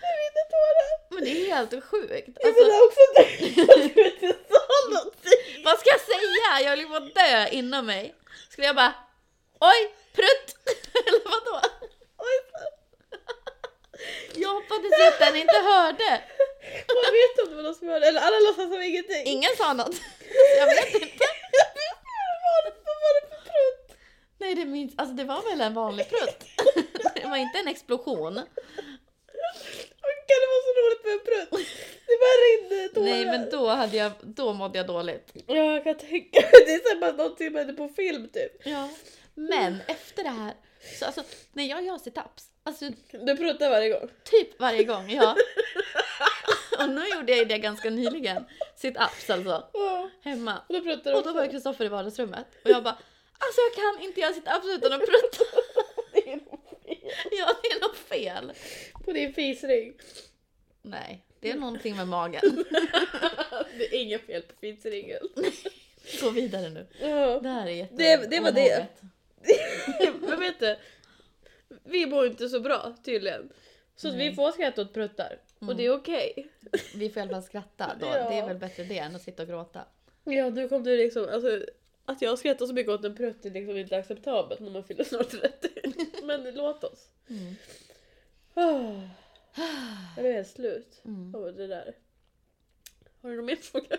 A: Jag rinner tårar.
B: Men det är ju helt sjukt.
A: Jag
B: Alltså,
A: menar också det. Att du inte sa någonting.
B: vad ska jag säga? Jag höll ju på att dö inom mig. Skulle jag bara, oj, prutt! Eller vadå?
A: Oj, fan.
B: Jag hoppades att den inte hörde.
A: Man vet om det var någon som hörde. Eller alla låtsas som ingenting.
B: Ingen sa något. Jag vet inte.
A: Jag vet inte vad det var. Vad var det för prutt?
B: Nej, det, minns, alltså det var väl en vanlig prutt. Det var inte en explosion.
A: Åh, Kan det vara så roligt med en prutt? Det bara rinner tårar.
B: Nej, men då, hade jag, då mådde jag dåligt.
A: Ja, jag kan tänka mig. Det är som att någonting som händer på film typ.
B: Ja. Men efter det här, så alltså, när jag gör sit-ups, alltså
A: Du pruttar varje gång.
B: typ varje gång, ja. Och nu gjorde jag ju det ganska nyligen, sit-ups alltså,
A: Ja.
B: hemma.
A: Och då pruttar du
B: Och då var ju
A: också.
B: Kristoffer i vardagsrummet och jag bara Alltså jag kan inte göra sit-ups utan att prutta.
A: Det är nog fel
B: Ja, det är något fel.
A: På din fisring.
B: Nej, det är någonting med magen.
A: Det är inget fel på fisringen.
B: Gå vidare nu.
A: Ja.
B: Det här är jätte...
A: Det- det var det.
B: omoget.
A: Men vet du? Vi mår inte så bra tydligen. Så att vi
B: Nej.
A: får skratta åt pruttar. Och
B: Mm.
A: det är okej.
B: Vi får i alla fall skratta då.
A: Ja.
B: Det är väl bättre det än att sitta och gråta.
A: Ja, nu kom du liksom... Alltså, att jag skrattar så mycket åt en prutt är liksom inte acceptabelt när man fyller snart 30. Men låt oss.
B: Mm.
A: Oh, jag är helt slut
B: Mm.
A: av det där. Har du någon mer fråga?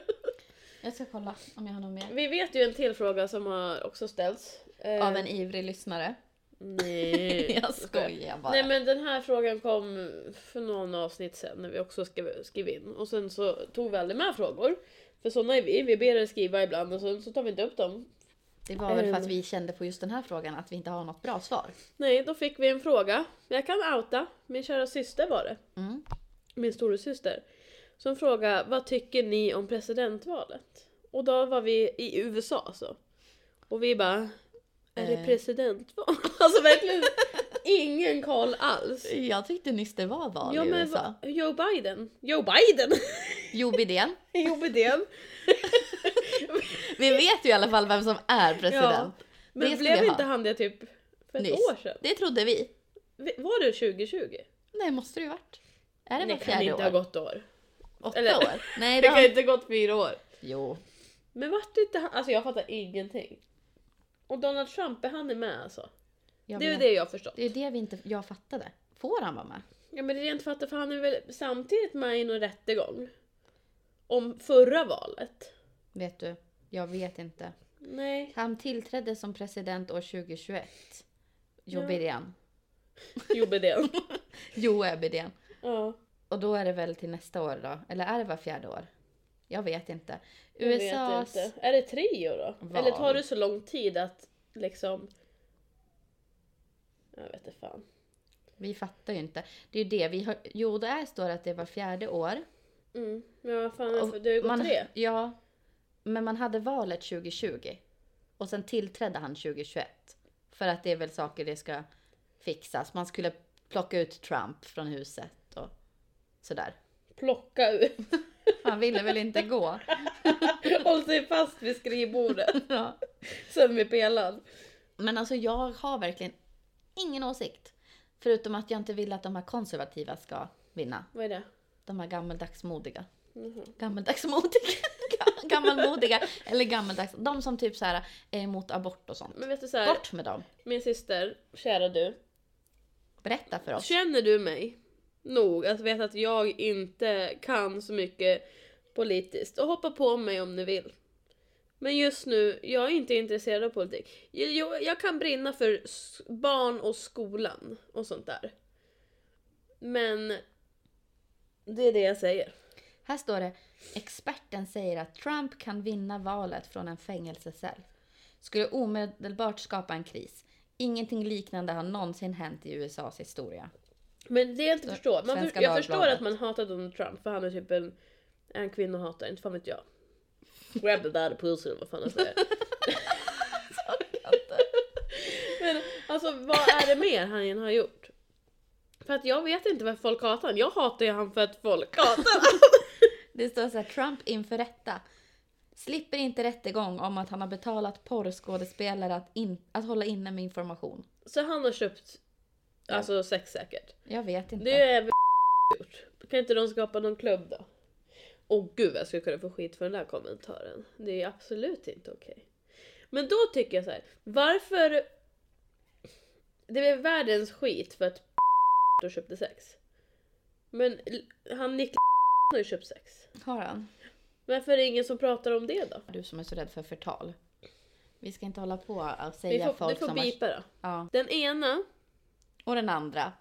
B: Jag ska kolla om jag har något mer.
A: Vi vet ju en till fråga som har också ställts. Eh,
B: Av en ivrig lyssnare.
A: Nej,
B: Jag skojar bara.
A: Eh. Nej men den här frågan kom för någon avsnitt sen när vi också skrev, skrev in. Och sen så tog vi aldrig med frågor. För såna är vi, vi ber er skriva ibland och sen så tar vi inte upp dem.
B: Det var väl för att
A: Ehm.
B: vi kände på just den här frågan att vi inte har något bra svar.
A: Nej, då fick vi en fråga. Jag kan outa, min kära syster var det.
B: Mm.
A: Min storasyster. Som frågade, vad tycker ni om presidentvalet? Och då var vi i USA så. alltså. Och vi bara, är det
B: Eh.
A: presidentval? Alltså verkligen ingen koll alls.
B: Jag tyckte nyss det var val
A: Ja
B: i
A: men
B: USA.
A: va- Joe Biden. Joe Biden?
B: Jo, Bidén.
A: Joe Biden.
B: Vi vet ju i alla fall vem som är
A: Ja,
B: president.
A: men
B: Det skulle
A: blev
B: jag
A: inte
B: ha.
A: han det typ för ett
B: Nyss.
A: år sedan?
B: Det trodde vi.
A: V- Var det 2020?
B: Nej, måste det ju varit. Är det
A: det
B: var
A: kan
B: fjärde
A: inte ha
B: år?
A: gått år.
B: Åtta
A: eller-
B: år? Nej, det
A: Det kan
B: har...
A: inte ha gått fyra år.
B: Jo.
A: Men vart inte han? Alltså jag fattar ingenting. Och Donald Trump, är han är med alltså?
B: Jag
A: det är ju
B: vet.
A: det jag har förstått.
B: det är det vi inte... Jag fattade. Får han vara med?
A: Ja men det är rent fattar för han är väl samtidigt med i någon rättegång? Om förra valet?
B: Vet du? Jag vet inte.
A: Nej.
B: Han tillträdde som president år 2021. Jo
A: Ja.
B: Bidén.
A: Jo Bidén.
B: Jo är Bidén.
A: ja.
B: Och då är det väl till nästa år då? Eller är det var fjärde år? Jag vet inte.
A: jag vet
B: USAs...
A: inte. Är det tre år då?
B: Val.
A: Eller tar det så lång tid att liksom... Jag vet inte fan.
B: Vi fattar ju inte. Det är ju det vi har... Jo, det är står att det var fjärde år.
A: Mm. Men vad fan,
B: Och
A: alltså, det har ju gått
B: man,
A: tre.
B: Ja. Men man hade valet 2020. Och sen tillträdde han 2021. För att det är väl saker det ska fixas. Man skulle plocka ut Trump från huset och sådär.
A: Plocka ut.
B: Han ville väl inte gå.
A: Håll sig fast vid skrivbordet.
B: Ja.
A: Sen vid pelaren.
B: Men alltså jag har verkligen ingen åsikt. Förutom att jag inte vill att de här konservativa ska vinna.
A: Vad är det?
B: De här gammeldagsmodiga.
A: Mhm.
B: Gammeldagsmodiga? Gam- Gammalmodiga. Eller gammeldags. De som typ så här är emot abort och sånt.
A: Men vet du så här,
B: Bort med dem.
A: min syster, kära du.
B: Berätta för oss.
A: Känner du mig nog att veta att jag inte kan så mycket politiskt? Och hoppa på mig om ni vill. Men just nu, jag är inte intresserad av politik. Jag, jag, jag kan brinna för s- barn och skolan och sånt där. Men det är det jag säger.
B: Här står det experten säger att Trump kan vinna valet från en fängelsecell. skulle omedelbart skapa en kris. Ingenting liknande har någonsin hänt i USAs historia.
A: Men det jag inte
B: Så,
A: förstår. Man
B: Svenska
A: för, jag förstår
B: Dagbladet.
A: att man hatar Donald Trump för han är typ en, en kvinnohatare, inte fan vet jag. Grab the bad pussy eller vad fan han säger. Men alltså vad är det mer han än har gjort? För att jag vet inte varför folk hatar honom. Jag hatar ju han för att folk hatar honom.
B: Det står så här, Trump inför rätta. Slipper inte rättegång om att han har betalat porrskådespelare att, in, att hålla inne med information.
A: Så han har köpt alltså sex säkert.
B: Jag vet inte.
A: Det är väl gjort. Kan inte de skapa någon klubb då? Åh gud vad jag skulle kunna få skit för den där kommentaren. Det är absolut inte okej. Men då tycker jag så här. varför... Det blev världens skit för att och köpte sex. Men l- han Niklas har ju köpt sex.
B: Har han?
A: Varför är det ingen som pratar om det då?
B: Du som är så rädd för förtal. Vi ska inte hålla på och
A: Vi
B: säga
A: får, du
B: folk
A: får
B: som har...
A: bipa då.
B: Ja.
A: Den ena,
B: Och den andra.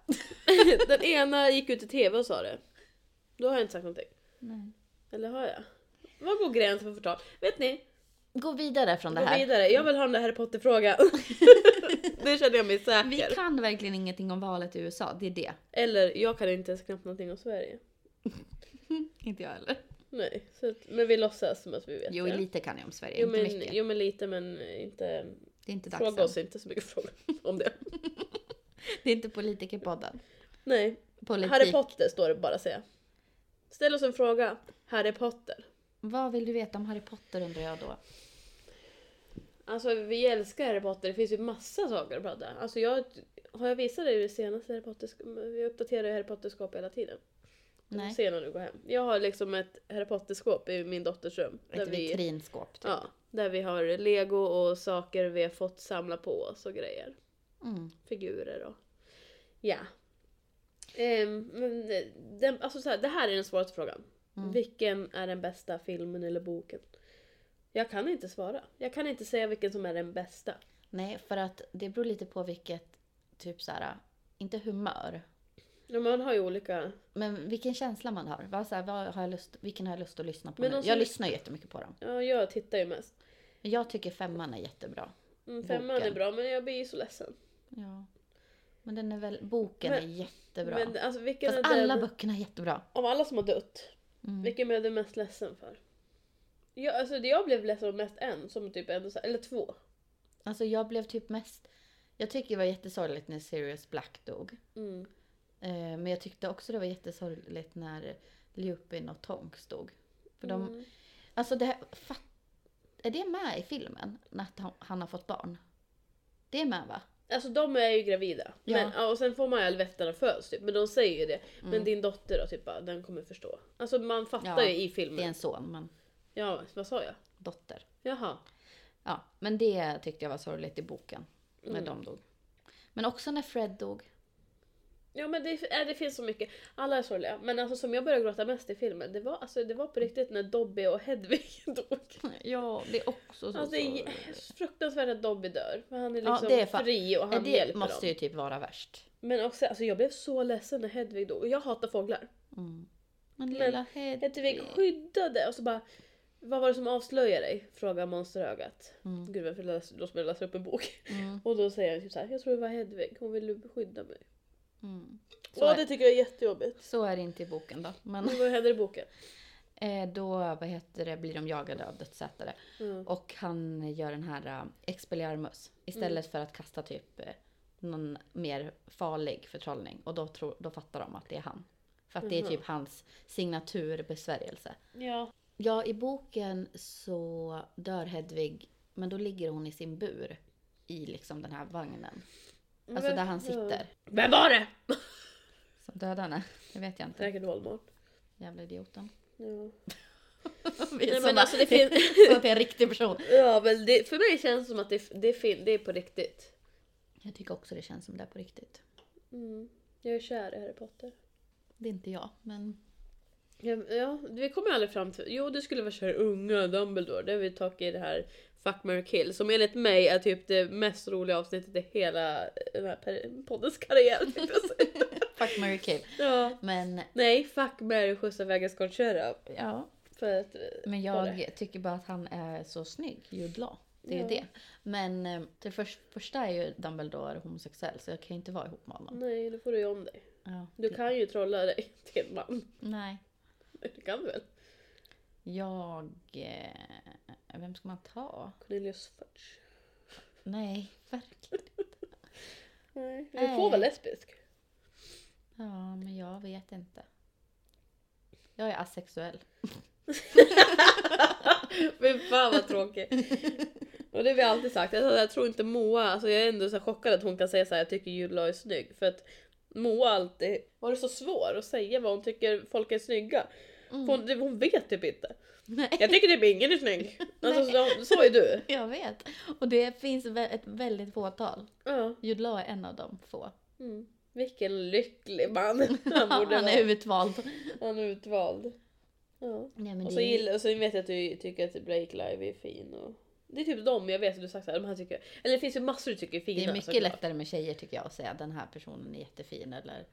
A: den ena gick ut i tv och sa det. Då har jag inte sagt någonting.
B: Nej.
A: Eller har jag? Var går gränsen för förtal? Vet ni?
B: Gå vidare från det
A: Gå
B: här.
A: vidare, jag vill ha den där Harry Potter-frågan. det känner jag mig
B: Vi
A: säker.
B: kan verkligen ingenting om valet i USA, det är det.
A: Eller, jag kan inte ens knappt någonting om Sverige.
B: Inte jag heller.
A: Nej, så att, men vi låtsas som att vi vet
B: Jo,
A: det.
B: lite kan jag om Sverige,
A: jo,
B: inte
A: men,
B: mycket.
A: jo men lite men inte...
B: det är inte
A: Fråga
B: dags
A: oss
B: än.
A: inte så mycket frågor om det.
B: Det är inte politikerpodden.
A: Nej,
B: Politik.
A: Harry Potter står det bara säga. Ställ oss en fråga. Harry Potter.
B: Vad vill du veta om Harry Potter undrar jag då?
A: Alltså vi älskar Harry Potter, det finns ju massa saker att prata om. Alltså jag... Har jag visat dig det senaste Harry Potter... Vi uppdaterar ju Harry Potter-skåp hela tiden. Nej.
B: Nej,
A: Se när du går hem. Jag har liksom ett Harry Potter-skåp i min dotters rum. Där
B: ett
A: vi,
B: vitrinskåp. Typ.
A: ja, där vi har lego och saker vi har fått samla på oss och grejer.
B: Mm.
A: Figurer och... Ja. Ehm, men eh, den, alltså så här, det här är den svåraste frågan.
B: Mm.
A: Vilken är den bästa filmen eller boken? Jag kan inte svara. Jag kan inte säga vilken som är den bästa.
B: Nej, för att det beror lite på vilket, typ så här, inte humör,
A: Ja, Man har ju olika...
B: men vilken känsla man har. Vad, så här, vad har jag lust, vilken har jag lust att lyssna på
A: Men alltså
B: nu?
A: de som-
B: Jag lyssnar ju jättemycket på dem.
A: Ja, jag tittar ju mest.
B: Men jag tycker femman är jättebra.
A: Mm, femman
B: Boken.
A: är bra, men jag blir ju så ledsen.
B: Ja. Men den är väl, boken
A: Men-
B: är jättebra.
A: Men alltså, vilken
B: Fast
A: är den-
B: alla böckerna är jättebra.
A: Av alla som har dött,
B: Mm.
A: vilken blev du mest ledsen för? Jag, alltså, det jag blev ledsen mest en, som typ en, eller två.
B: Alltså jag blev typ mest... Jag tycker det var jättesorgligt när Sirius Black dog.
A: Mm.
B: Eh, men jag tyckte också det var jättesorgligt när Lupin och Tonks dog. För de,
A: Mm.
B: Alltså det här, fatt, Är det med i filmen? Att han, han har fått barn? Det är med va?
A: Alltså de är ju gravida.
B: Ja.
A: Men, ja, och sen får man ju helvetarna föds typ. Men de säger ju det. Men din dotter då, typ bara, den kommer förstå. Alltså man fattar
B: Mm. Ja,
A: ju i
B: Det är
A: filmen.
B: en son men
A: Ja, vad sa jag?
B: dotter.
A: Jaha.
B: Ja, men det tyckte jag var sorgligt i boken. När
A: Mm.
B: de dog. Men också när Fred dog.
A: Ja men det, äh, det finns så mycket. Alla är sorgliga. Men alltså som jag började gråta mest i filmen, det var, alltså, det var på riktigt när Dobby och Hedvig dog.
B: Ja, det är också så
A: Alltså det är fruktansvärt att Dobby dör. För han är
B: Ja,
A: liksom
B: det är fan-
A: fri och han
B: Det
A: hjälper
B: måste
A: dem.
B: ju typ vara värst.
A: Men också, alltså jag blev så ledsen när Hedvig dog. Och Jag hatar fåglar.
B: Mm. Men lilla Hedvig.
A: Hedvig skyddade och så bara... Vad var det som avslöjade dig? Frågar monsterögat.
B: Mm.
A: Gud varför läser, då som jag läser upp en bok.
B: Mm,
A: Och då säger han typ såhär, jag tror det var Hedvig, hon ville skydda mig.
B: mm. Så,
A: Ja
B: är,
A: det tycker jag är jättejobbigt.
B: så är det inte i boken då. Men
A: Men vad händer i boken?
B: eh, då vad heter det, blir de jagade av dödsätare.
A: Mm.
B: Och han gör den här eh, expelliarmus istället för att kasta typ eh, någon mer farlig förtrollning. Och då, tror, då fattar de att det är han. För att det är
A: Mhm.
B: typ hans signaturbesvärjelse.
A: Ja.
B: Ja, i boken så dör Hedvig, men då ligger hon i sin bur i liksom den här vagnen. Alltså där han sitter.
A: Vem var det?
B: Som dödar henne. Det vet jag inte.
A: Säkert Voldemort.
B: Jävla idioten.
A: Ja.
B: Vi är
A: men
B: såna-
A: alltså, det finns-
B: så att det är en riktig person.
A: ja men det, för mig känns det som att det, det, är, fin, det är på riktigt.
B: Jag tycker också det känns som det är på riktigt.
A: Mm. Jag är kär i Harry Potter.
B: Det är inte jag, men
A: Ja, ja, vi kommer aldrig fram till... Jo, det skulle vara kär unga Dumbledore. Det har vi tagit i det här Fuck, marry, kill. Som enligt mig är typ det mest roliga avsnittet i hela eh, den här per- poddens karriär. tänkte jag säga.
B: fuck, marry, kill.
A: ja.
B: Men
A: Nej, fuck, marry, skjutsa, väga, skottkärra.
B: ja,
A: För att... eh,
B: men
A: var det?
B: jag tycker bara att han är så snygg, Jude Law. Det är ju
A: Ja.
B: det. Men eh, det först, första är ju Dumbledore homosexuell så jag kan ju inte vara ihop med honom.
A: Nej, då får du ju om dig.
B: Ja.
A: Mm. Du kan ju trolla dig till en man.
B: Nej.
A: Det kan du väl?
B: Jag... Eh, vem ska man ta?
A: Cornelius Fudge.
B: Nej, verkligen.
A: Nej. Du
B: Nej.
A: får vara lesbisk.
B: Ja, men jag vet inte. Jag är asexuell.
A: Fy fan vad tråkigt. Och det har vi alltid sagt. Alltså, jag tror inte Moa, alltså jag är ändå så här chockad att hon kan säga så här, jag tycker Julia är snygg. För att Moa alltid varit så svår att säga vad hon tycker folk är snygga.
B: Mm.
A: För hon, det- hon vet typ inte.
B: Nej.
A: Jag tycker typ ingen är snygg. Alltså, så, så är du.
B: Jag vet. Och det finns vä- ett väldigt fåtal.
A: Ja.
B: Jude Law är en av de få.
A: Mm. Vilken lycklig man han
B: Han,
A: borde
B: är
A: vara.
B: utvald.
A: Han är utvald. Ja.
B: Nej, men
A: Och
B: det
A: så,
B: är ju-
A: gillar, och så vet jag att du tycker att Blake Lively är fin. Och... Det är typ dem jag vet att du sagt såhär, de här tycker Eller det finns ju massor du tycker är fina.
B: det är mycket
A: såklart.
B: lättare med tjejer tycker jag att säga den här personen är jättefin eller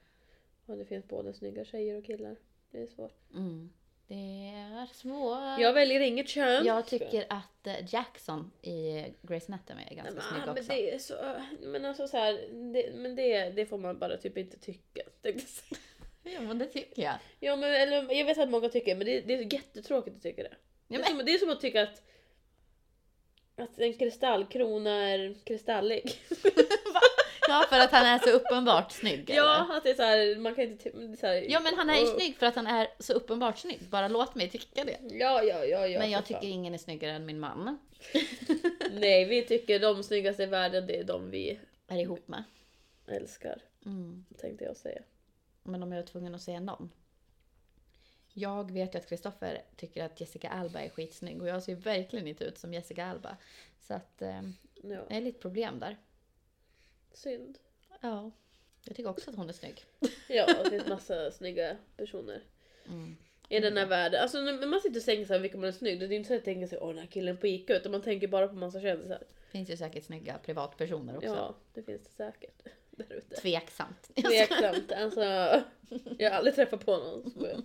A: Ja, det finns både snygga tjejer och killar. Det är svårt.
B: mm. Det är svårt.
A: Jag väljer inget kön.
B: Jag tycker att eh, Jackson i Grey's Anatomy är ganska
A: Nej,
B: snygg
A: men, men
B: också.
A: det är så... Men alltså så här, det, men det, det får man bara typ inte tycka. tänkte jag säga.
B: Ja men det tycker jag.
A: Ja, men eller, jag vet att många tycker men det, det är jättetråkigt att tycka det.
B: Ja,
A: Det, är som, det är som att tycka att att en kristallkrona är kristallig.
B: Ja för att han är så uppenbart snygg. eller?
A: Ja, att det är så här, man kan inte... ty- det är Så här,
B: ja men han är ju
A: Åh.
B: snygg för att han är så uppenbart snygg. Bara låt mig tycka det.
A: Ja, ja, ja, ja.
B: Men jag
A: för
B: tycker
A: fan.
B: ingen är snyggare än min man
A: Nej, vi tycker de snyggaste i världen, det är de vi
B: är ihop med.
A: älskar.
B: Mm.
A: Tänkte jag säga.
B: Men om jag var tvungen att säga någon. Jag vet ju att Kristoffer tycker att Jessica Alba är skitsnygg och jag ser ju verkligen inte ut som Jessica Alba. Så att eh,
A: Ja,
B: det är lite problem där.
A: synd.
B: Ja. Jag tycker också att hon är snygg.
A: Ja, och det finns massa snygga personer
B: Mm.
A: i den här världen. Alltså när man sitter och tänker såhär, vilken man är snygg. Det är inte så att jag tänker sig, åh den här killen på ICA. Utan man tänker bara på massa kändisar.
B: Finns ju säkert snygga privatpersoner också.
A: Ja, det finns det säkert. Där ute.
B: Tveksamt.
A: Tveksamt. Alltså, jag har aldrig träffat på någon. som är-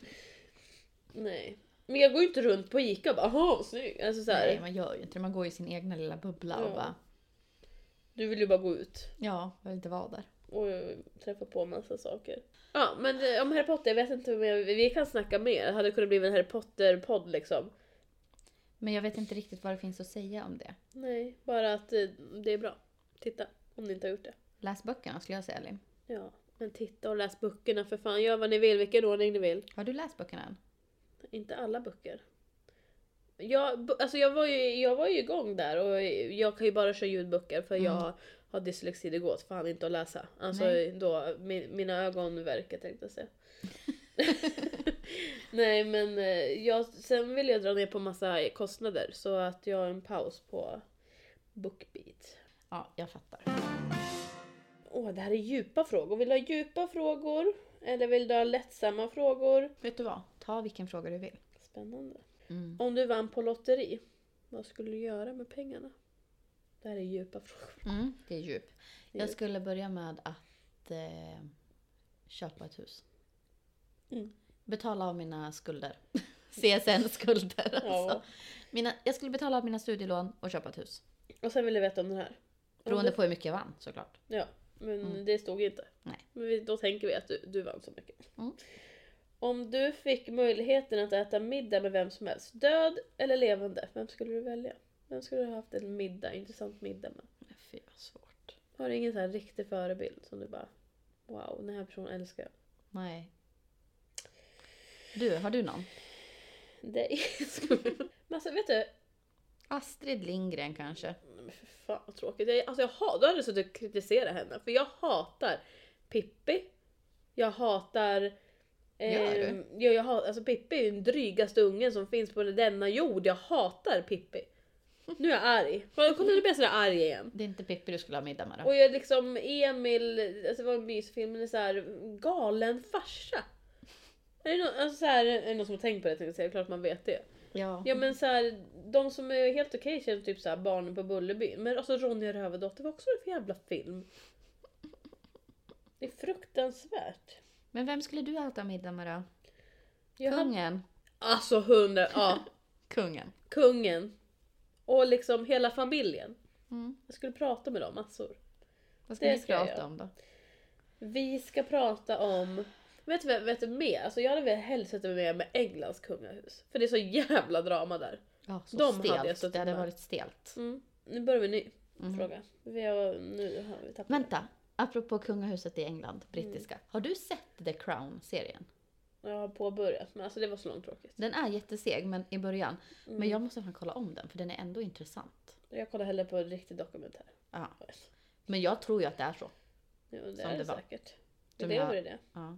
A: Nej. Men jag går ju inte runt på ICA och bara, åh snygg. Alltså, så
B: Nej,
A: här,
B: man gör ju inte det. Man går ju i sin egna lilla bubbla
A: Ja.
B: och bara
A: du vill ju bara gå ut.
B: ja, jag vill inte vara där.
A: och träffa på massa saker. Ja, men eh, om Harry Potter, jag vet inte om jag, vi kan snacka mer. Det hade kunnat bli en Harry Potter-podd liksom.
B: Men jag vet inte riktigt vad det finns att säga om det.
A: Nej, bara att eh, det är bra. Titta, om ni inte har gjort det.
B: Läs böckerna skulle jag säga Lin.
A: Ja, men titta och läs böckerna för fan. Gör vad ni vill, vilken ordning ni vill.
B: Har du läst böckerna än?
A: Inte alla böcker. Jag, bu- alltså jag, var ju, jag var ju igång där och jag kan ju bara köra ljudböcker för jag har dyslexi, det går åt fan inte att läsa. Alltså
B: Nej.
A: då, min, mina ögon verkar tänkte jag säga. Nej men eh, jag, sen vill jag dra ner på massa kostnader så att jag har en paus på BookBeat.
B: Ja, jag fattar.
A: Åh, det här är djupa frågor. Vill du ha djupa frågor? Eller vill du ha lättsamma frågor?
B: Vet du vad? Ta vilken fråga du vill.
A: Spännande.
B: Mm.
A: Om du vann på lotteri, vad skulle du göra med pengarna? Det här är djupa frågor.
B: Mm, det är djup.
A: Det är
B: Jag
A: djup.
B: skulle börja med att eh, köpa ett hus.
A: Mm.
B: Betala av mina skulder. CSN-skulder alltså.
A: Ja.
B: Mina, jag skulle betala av mina studielån och köpa ett hus.
A: Och sen vill jag veta om den här. Om
B: Beroende
A: du-
B: på hur mycket jag vann såklart.
A: Ja, men
B: Mm.
A: det stod inte.
B: Nej.
A: Men vi, då tänker vi att du, du vann så mycket.
B: Mm.
A: Om du fick möjligheten att äta middag med vem som helst, död eller levande, vem skulle du välja? Vem skulle du ha haft en middag, intressant middag med?
B: Men Fy vad svårt.
A: Har du ingen sån här riktig förebild som du bara Wow, den här personen älskar jag.
B: Nej. Du, har du någon?
A: Dig. Skojar. men alltså vet du,
B: Astrid Lindgren kanske?
A: Nej, men för fan vad tråkigt. Jag, alltså jag hat, då hade jag suttit och kritiserat henne. För jag hatar Pippi. Jag hatar...
B: Gör
A: Eh,
B: du?
A: jag, jag hat, alltså Pippi är ju den drygaste ungen som finns på denna jord. Jag hatar Pippi. Nu är jag arg. Jag kommer nu bli sådär arg igen.
B: Det är inte Pippi du skulle ha middag med då?
A: Och jag liksom Emil, alltså det var en mysfilm, men det är såhär galen farsa. Är det, någon, alltså så här, är det någon som har tänkt på det? Tänkte jag säga. Klart man vet det.
B: Ja.
A: Ja men så här, de som är helt okej känns typ så här barnen på Bullerby. Men alltså Ronja Rövardotter var också för jävla film. Det är fruktansvärt.
B: Men vem skulle du äta middag med då?
A: Jag hade,
B: Kungen?
A: alltså hundra, ja.
B: Kungen.
A: Kungen. Och liksom hela familjen.
B: Mm.
A: Jag skulle prata med dem alltså. massor.
B: Vad ska
A: Det
B: vi
A: ska jag
B: prata
A: göra.
B: om då?
A: Vi ska prata om... Vet du, vad- vet du mer? Alltså jag hade väl helst sett med med Englands kungahus. För det är så jävla drama där.
B: Ja, så
A: De hade
B: stelt.
A: jag suttit
B: det hade
A: med.
B: varit stelt.
A: Mm. Nu börjar vi en ny
B: Mm.
A: fråga. Vi har, nu har vi tappat
B: Vänta, apropå kungahuset i England, brittiska.
A: Mm.
B: Har du sett The Crown-serien?
A: Jag har påbörjat men alltså det var så långt tråkigt.
B: Den är jätteseg men i början.
A: Mm.
B: Men jag måste fan kolla om den för den är ändå intressant.
A: Jag kollar hellre på en riktig dokumentär.
B: Ja. Men jag tror ju att det är så.
A: Jo, det
B: Som
A: är
B: det
A: det
B: var.
A: säkert. Vi
B: Som
A: lever
B: jag-
A: i det.
B: Ja.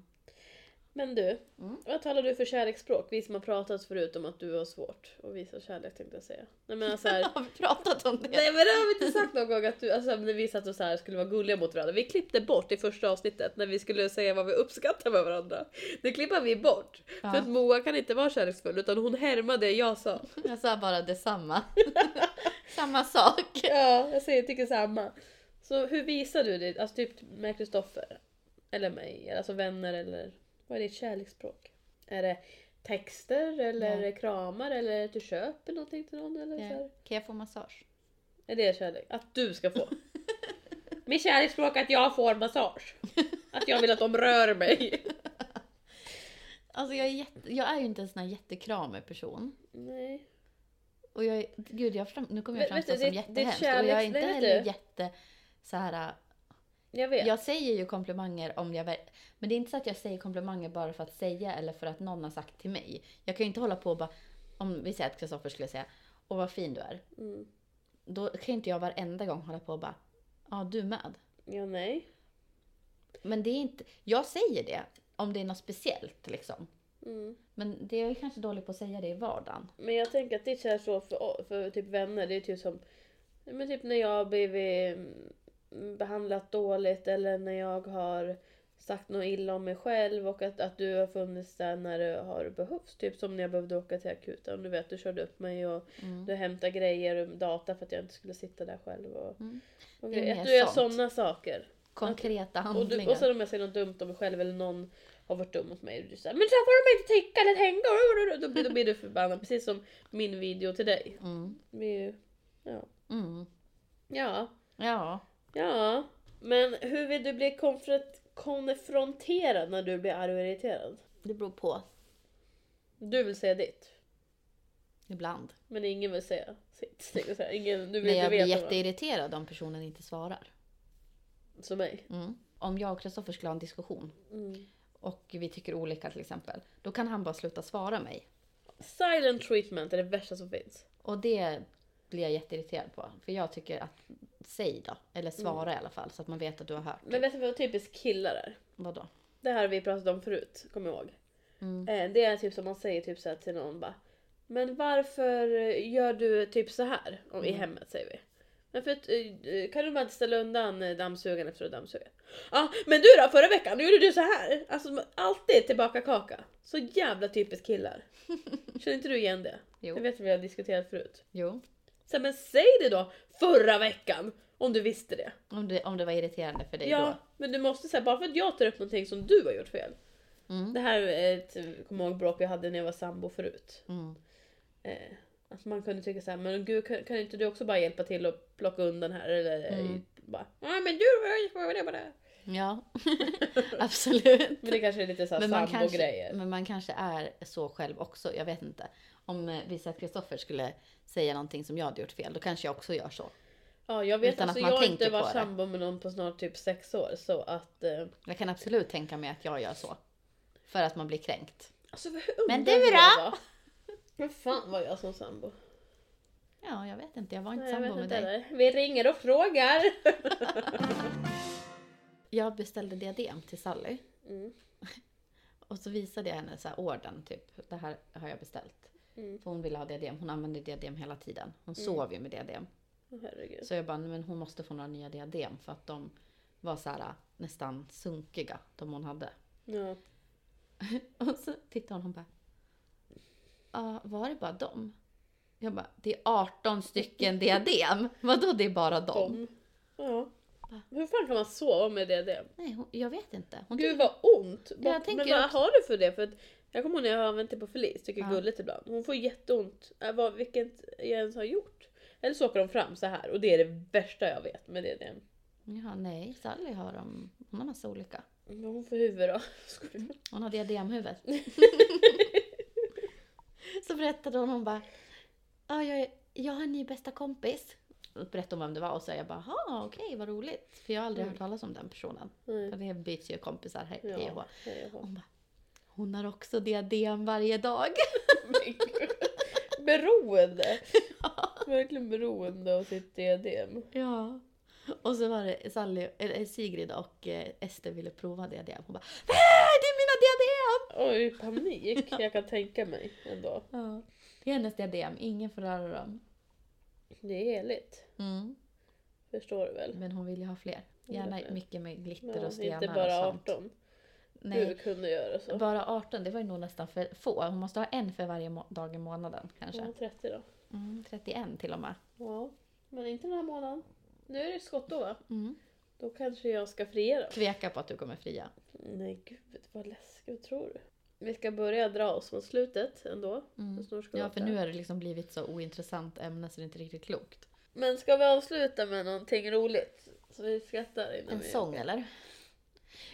A: Men du,
B: Mm.
A: vad talar du för kärleksspråk? Vi som har pratat förut om att du har svårt att visa kärlek tänkte jag säga. Nej men alltså här,
B: Har vi pratat om det?
A: Nej men det har vi inte sagt någon gång att du, alltså när vi satt och så här skulle vara gulliga mot varandra. Vi klippte bort i första avsnittet när vi skulle säga vad vi uppskattar med varandra. Det klippar vi bort.
B: Ja.
A: För att Moa kan inte vara kärleksfull utan hon härmar det jag sa.
B: Jag sa bara detsamma. samma sak.
A: Ja, alltså, jag säger tycker samma. Så hur visar du det, alltså typ med Kristoffer? Eller mig, alltså vänner eller vad är ditt kärleksspråk? Är det texter eller
B: Nej.
A: kramar eller att du köper någonting till någon eller så här?
B: Kan jag få massage?
A: Är det kärlek? Att du ska få? Mitt kärleksspråk är att jag får massage. Att jag vill att de rör mig.
B: Alltså jag är, jätte, jag är ju inte en sån här jättekramig person.
A: Nej. Och
B: Och jag är, gud, jag fram, nu kommer jag
A: Vet- vet
B: framstå
A: du,
B: som
A: ditt- ditt
B: jättehemsk. och jag är
A: kärleks-
B: inte
A: nej, vet
B: heller
A: du?
B: jätte... Så här, äh,
A: jag vet.
B: jag säger ju komplimanger om jag... ver- Men det är inte så att jag säger komplimanger bara för att säga eller för att någon har sagt till mig. Jag kan ju inte hålla på och bara... Om vi säger att Kristoffer skulle säga Åh vad fin du är.
A: Mm.
B: Då kan ju inte jag varenda gång hålla på och bara Ja, du med.
A: Ja, nej.
B: Men det är inte... Jag säger det om det är något speciellt liksom.
A: Mm.
B: Men det är jag kanske dålig på att säga det i vardagen.
A: Men jag tänker att ditt kärleksspråk för, för typ vänner, det är typ som men typ när jag har blivit mm, behandlat dåligt eller när jag har sagt något illa om mig själv och att, att du har funnits där när det har behövts. Typ som när jag behövde åka till akuten. Du vet, du körde upp mig och
B: Mm.
A: Du hämtar grejer och data för att jag inte skulle sitta där själv. Och,
B: Mm.
A: och
B: Det är
A: vi-
B: mer
A: att du gör
B: sånt.
A: sådana saker.
B: Konkreta
A: Och,
B: handlingar.
A: du, och sen om jag säger något dumt om mig själv eller någon har varit dum mot mig. Och du säger men så här får de inte tycka eller tänka. Då, blir- då blir du förbannad. Precis som min video till dig.
B: mm.
A: Vi, ja.
B: Mm.
A: ja,
B: Ja.
A: ja. Men hur vill du bli konfront- konfronterad när du blir arg och irriterad?
B: Det beror på.
A: Du vill säga ditt.
B: Ibland. men
A: Men ingen vill säga sitt. tänkte jag säga. Ingen, du vill
B: Nej,
A: inte
B: jag blir
A: veta vad-
B: jätteirriterad om personen inte svarar.
A: Som mig.
B: Mm. Om jag och Kristoffer skulle ha en diskussion
A: Mm.
B: och vi tycker olika till exempel. Då kan han bara sluta svara mig.
A: Silent treatment är det värsta som finns.
B: Och det blir jag jätteirriterad på. För jag tycker att, säg då. Eller
A: Mm.
B: svara i alla fall så att man vet att du har hört.
A: Men vet du vad typiskt killar är?
B: Vadå?
A: Det här har vi pratat om förut, kom ihåg.
B: Mm.
A: Eh, Det är typ som man säger typ så här till någon bara Men varför gör du typ så här om,
B: Mm.
A: i hemmet säger vi. Men för att, eh, kan du bara inte ställa undan eh, dammsugaren efter att du dammsuger? Ja, men du då förra veckan, då gjorde du så här. Alltså man- alltid tillbaka kaka. Så jävla typiskt killar. Känner inte du igen det?
B: Jo.
A: Jag vet att vi har diskuterat förut.
B: Jo.
A: Så, här, men säg det då förra veckan om du visste det.
B: Om det, om det var irriterande för dig
A: Ja, men du måste säga bara för att jag tar upp någonting som du har gjort fel.
B: då. Mm.
A: Det här är ett, kom ihåg bråk jag hade när jag var sambo förut.
B: Mm.
A: Eh, att man kunde tycka så här, men gud kan, kan inte du också bara hjälpa till och plocka undan här eller
B: Mm.
A: bara, nej men du, vad var det bara?
B: Ja, absolut.
A: Men det kanske är lite så här
B: Men man, kanske, Mm.
A: sambo-grejer.
B: men man kanske är så själv också, jag vet inte. Om eh, vi säger att Kristoffer skulle säga någonting som jag hade gjort fel, då kanske jag också gör så.
A: Ja, jag vet
B: Utan
A: alltså
B: att man
A: jag har
B: tänker
A: inte
B: på
A: varit
B: det.
A: sambo med någon på snart typ sex år så att eh,
B: Jag kan absolut tänka mig att jag gör så. För att man blir kränkt.
A: alltså, hur
B: Men
A: ung
B: du
A: jag
B: då?
A: var. Men fan var jag som sambo?
B: Ja, jag vet inte, jag var inte
A: Nej, jag
B: sambo
A: vet
B: med
A: inte
B: dig.
A: heller. Vi ringer och frågar.
B: Jag beställde diadem till Sally.
A: Mm.
B: Och så visade jag henne så här orden, typ. Det här har jag beställt.
A: Mm.
B: För hon ville ha diadem, hon använde diadem hela tiden. Hon sov ju med diadem.
A: Åh, Herregud.
B: Så jag bara, men hon måste få några nya diadem för att de var så här nästan sunkiga, de hon hade.
A: Ja.
B: Och så tittade hon och bara, ja var det bara dem? Jag bara, det är 18 stycken diadem. Vadå det är bara dem?
A: Om. Ja. Hur fan kan man sova med diadem?
B: Nej, hon, jag vet inte. Hon
A: Gud vad ont! Vad-
B: Mm. jag tänker
A: men vad
B: också-
A: har du för det? För att jag kommer ihåg när jag har använt det på Felice, tycker
B: Ja.
A: gulligt ibland. Hon får jätteont. Äh, vad, vilket jag ens har gjort. Eller så åker de fram så här och det är det värsta jag vet. Men det är det.
B: Jaha, nej. Sally har dem. Hon har massa olika.
A: Vad har hon för huvud då? Skojar.
B: Hon har diademhuvud. så berättade hon, hon bara Ja, jag, är- jag har en ny bästa kompis. Och berättade hon vem det var och så jag bara, ja okej vad roligt. För jag har aldrig
A: Mm.
B: hört talas om den personen.
A: Nej.
B: För det byts ju kompisar hej
A: Ja,
B: hej och hå.
A: hej och hå.
B: Hon bara, hon har också diadem varje dag. Oh
A: beroende! Verkligen beroende av sitt diadem.
B: Ja. Och så var det Sally, eller Sigrid och eh, Ester ville prova diadem. Hon bara, nej det är mina diadem!
A: Oj, panik. Jag kan tänka mig ändå.
B: Ja. Det är hennes diadem, ingen får röra dem.
A: Det är heligt.
B: Mm.
A: Förstår du väl?
B: Men hon vill ju ha fler.
A: vill ha
B: Gärna
A: fler.
B: mycket med glitter
A: Ja,
B: och stenar
A: inte
B: och
A: bara
B: sånt.
A: 18. Du
B: Nej,
A: kunde göra så.
B: bara 18. Det var ju nog nästan för få. Hon måste ha en för varje må- dag i månaden kanske.
A: Ja, 30 då.
B: Mm, 31 till och med.
A: Ja, men inte den här månaden. Nu är det skottår va?
B: Mm.
A: Då kanske jag ska fria då.
B: Tveka på att du kommer fria.
A: Nej gud, vad läskigt. Vad tror du? Vi ska börja dra oss mot slutet ändå.
B: Mm.
A: Så snart ska vi
B: Ja,
A: åka.
B: för nu har det liksom blivit så ointressant ämne så det är inte riktigt klokt.
A: Men ska vi avsluta med någonting roligt? Så vi skrattar innan
B: En
A: vi...
B: sång eller?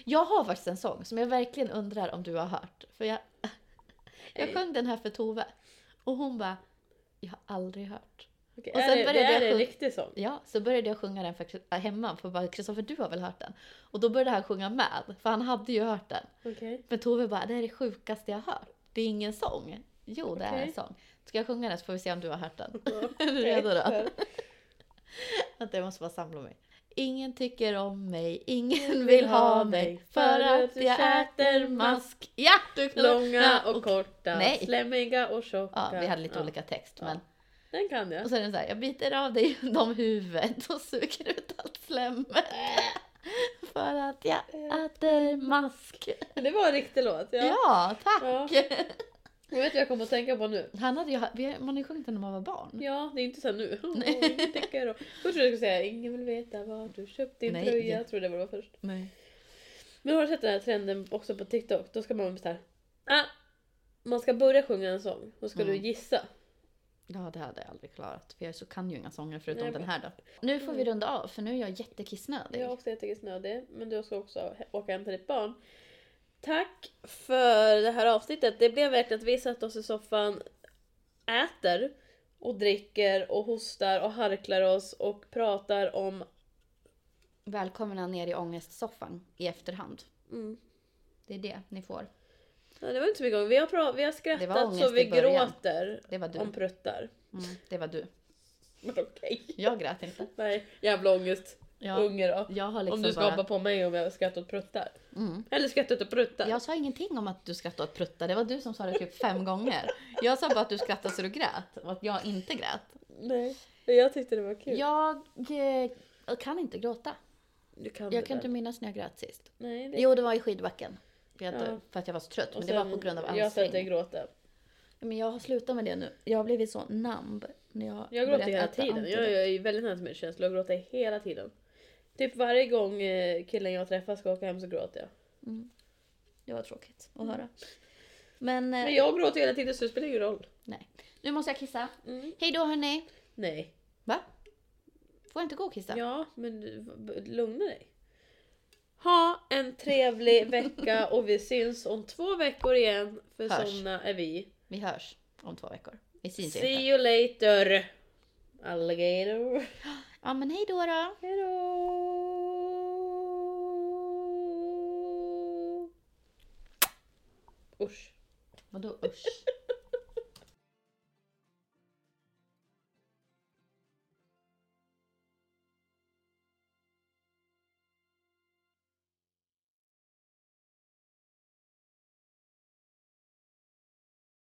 B: Jag har faktiskt en sång som jag verkligen undrar om du har hört. För jag, jag
A: Nej.
B: sjöng den här för Tove och hon bara Jag har aldrig hört.
A: Okej,
B: Och
A: är
B: sen
A: det, det
B: började jag
A: är en
B: sjung-
A: riktig sång.
B: Ja, så började jag sjunga den för, Chris- äh, hemma för bara Kristoffer du har väl hört den? Och då började han sjunga med för han hade ju hört den.
A: Okej.
B: Men Tove bara det här är det sjukaste jag har hört. Det är ingen sång. Jo det är en
A: Okej.
B: sång. Ska jag sjunga den så får vi se om du har hört den.
A: Ja,
B: Är du redo då?
A: okej.
B: Att jag måste bara samla mig. Ingen tycker om mig, ingen vill ha mig för att jag äter mask. Ja! Du
A: Långa och korta,
B: Nej.
A: slemmiga och tjocka.
B: Ja, vi hade lite
A: Ja,
B: olika text.
A: Ja.
B: Men,
A: Den kan jag.
B: och sen är det så här, jag biter av dig genom huvudet och suger ut allt slemmet. För att jag äter mask.
A: Det var en riktig låt. Ja.
B: Ja, tack!
A: Jag vet vad jag kommer att tänka på nu.
B: Han hade ju, vi har- man har ju sjungit den när man var barn.
A: Ja, det är inte så här nu. Ingen tycker om- Först trodde jag skulle säga ingen vill veta var du köpt din
B: Nej.
A: tröja. Jag trodde det var först.
B: Nej.
A: Men har du sett den här trenden också på TikTok? Då ska man vara så här. Ah, man ska börja sjunga en sång. Då ska du
B: Mm.
A: gissa.
B: Ja, det hade jag aldrig klarat. För jag så kan ju inga sånger förutom
A: Nej,
B: den
A: men- Mm.
B: här då. Nu får vi runda av för nu är jag jättekissnödig.
A: Jag är också jättekul snödig. Men du ska också he- åka hem till ditt barn. Tack för det här avsnittet. Det blev verkligen att vi satt oss i soffan, äter och dricker och hostar och harklar oss och pratar om...
B: Välkomna ner i ångestsoffan i efterhand.
A: Mm.
B: Det är det ni får.
A: Ja, det var inte så mycket ångest. Vi har, pra- vi har
B: Det var
A: skrattat
B: ångest
A: så vi
B: i början.
A: gråter
B: Det var du.
A: om pruttar.
B: Mm, det var du.
A: Men okej.
B: Jag grät inte.
A: Nej, jävla ångest.
B: Jag,
A: Unge då.
B: jag har liksom
A: om du ska hoppa
B: bara...
A: på mig om jag skrattar åt pruttar.
B: Mm.
A: Eller skrattar åt pruttar.
B: Jag sa ingenting om att du skrattade åt prutta. Det var du som sa det typ fem gånger. Jag sa bara att du skrattade så du grät och att jag inte grät.
A: Nej, jag tyckte det var kul.
B: Jag eh, kan inte gråta.
A: Du kan
B: Jag
A: det
B: kan
A: där.
B: inte minnas när jag grät sist.
A: Nej, det...
B: Jo, det var i skidbacken. För jag-
A: Ja.
B: För att jag var så trött.
A: Och
B: Men det var
A: sen-
B: på grund av
A: Jag satt och
B: ansträngning.
A: gråta.
B: Men jag har slutat med det nu. Jag har blivit så namb. När jag,
A: Jag gråter
B: börjat
A: hela
B: äta
A: tiden. Jag,
B: antidepp.
A: jag är väldigt nära med känslor. Jag gråter hela tiden. Typ varje gång eh, killen jag träffar ska åka hem så gråter jag.
B: Det var tråkigt att höra. Men, eh,
A: Men jag gråter hela tiden så det spelar ingen roll.
B: nej. Nu måste jag kissa.
A: Mm.
B: Hej då hörni!
A: Nej.
B: Va? Får jag inte gå och kissa?
A: Ja, men du- b- lugna dig. Ha en trevlig vecka och vi syns om två veckor igen. För
B: Hörs.
A: såna är vi.
B: Vi hörs om två veckor. Vi syns
A: See
B: inte.
A: you later! Alligator.
B: Ja men hej då då!
A: Hejdå! Usch.
B: Vadå usch?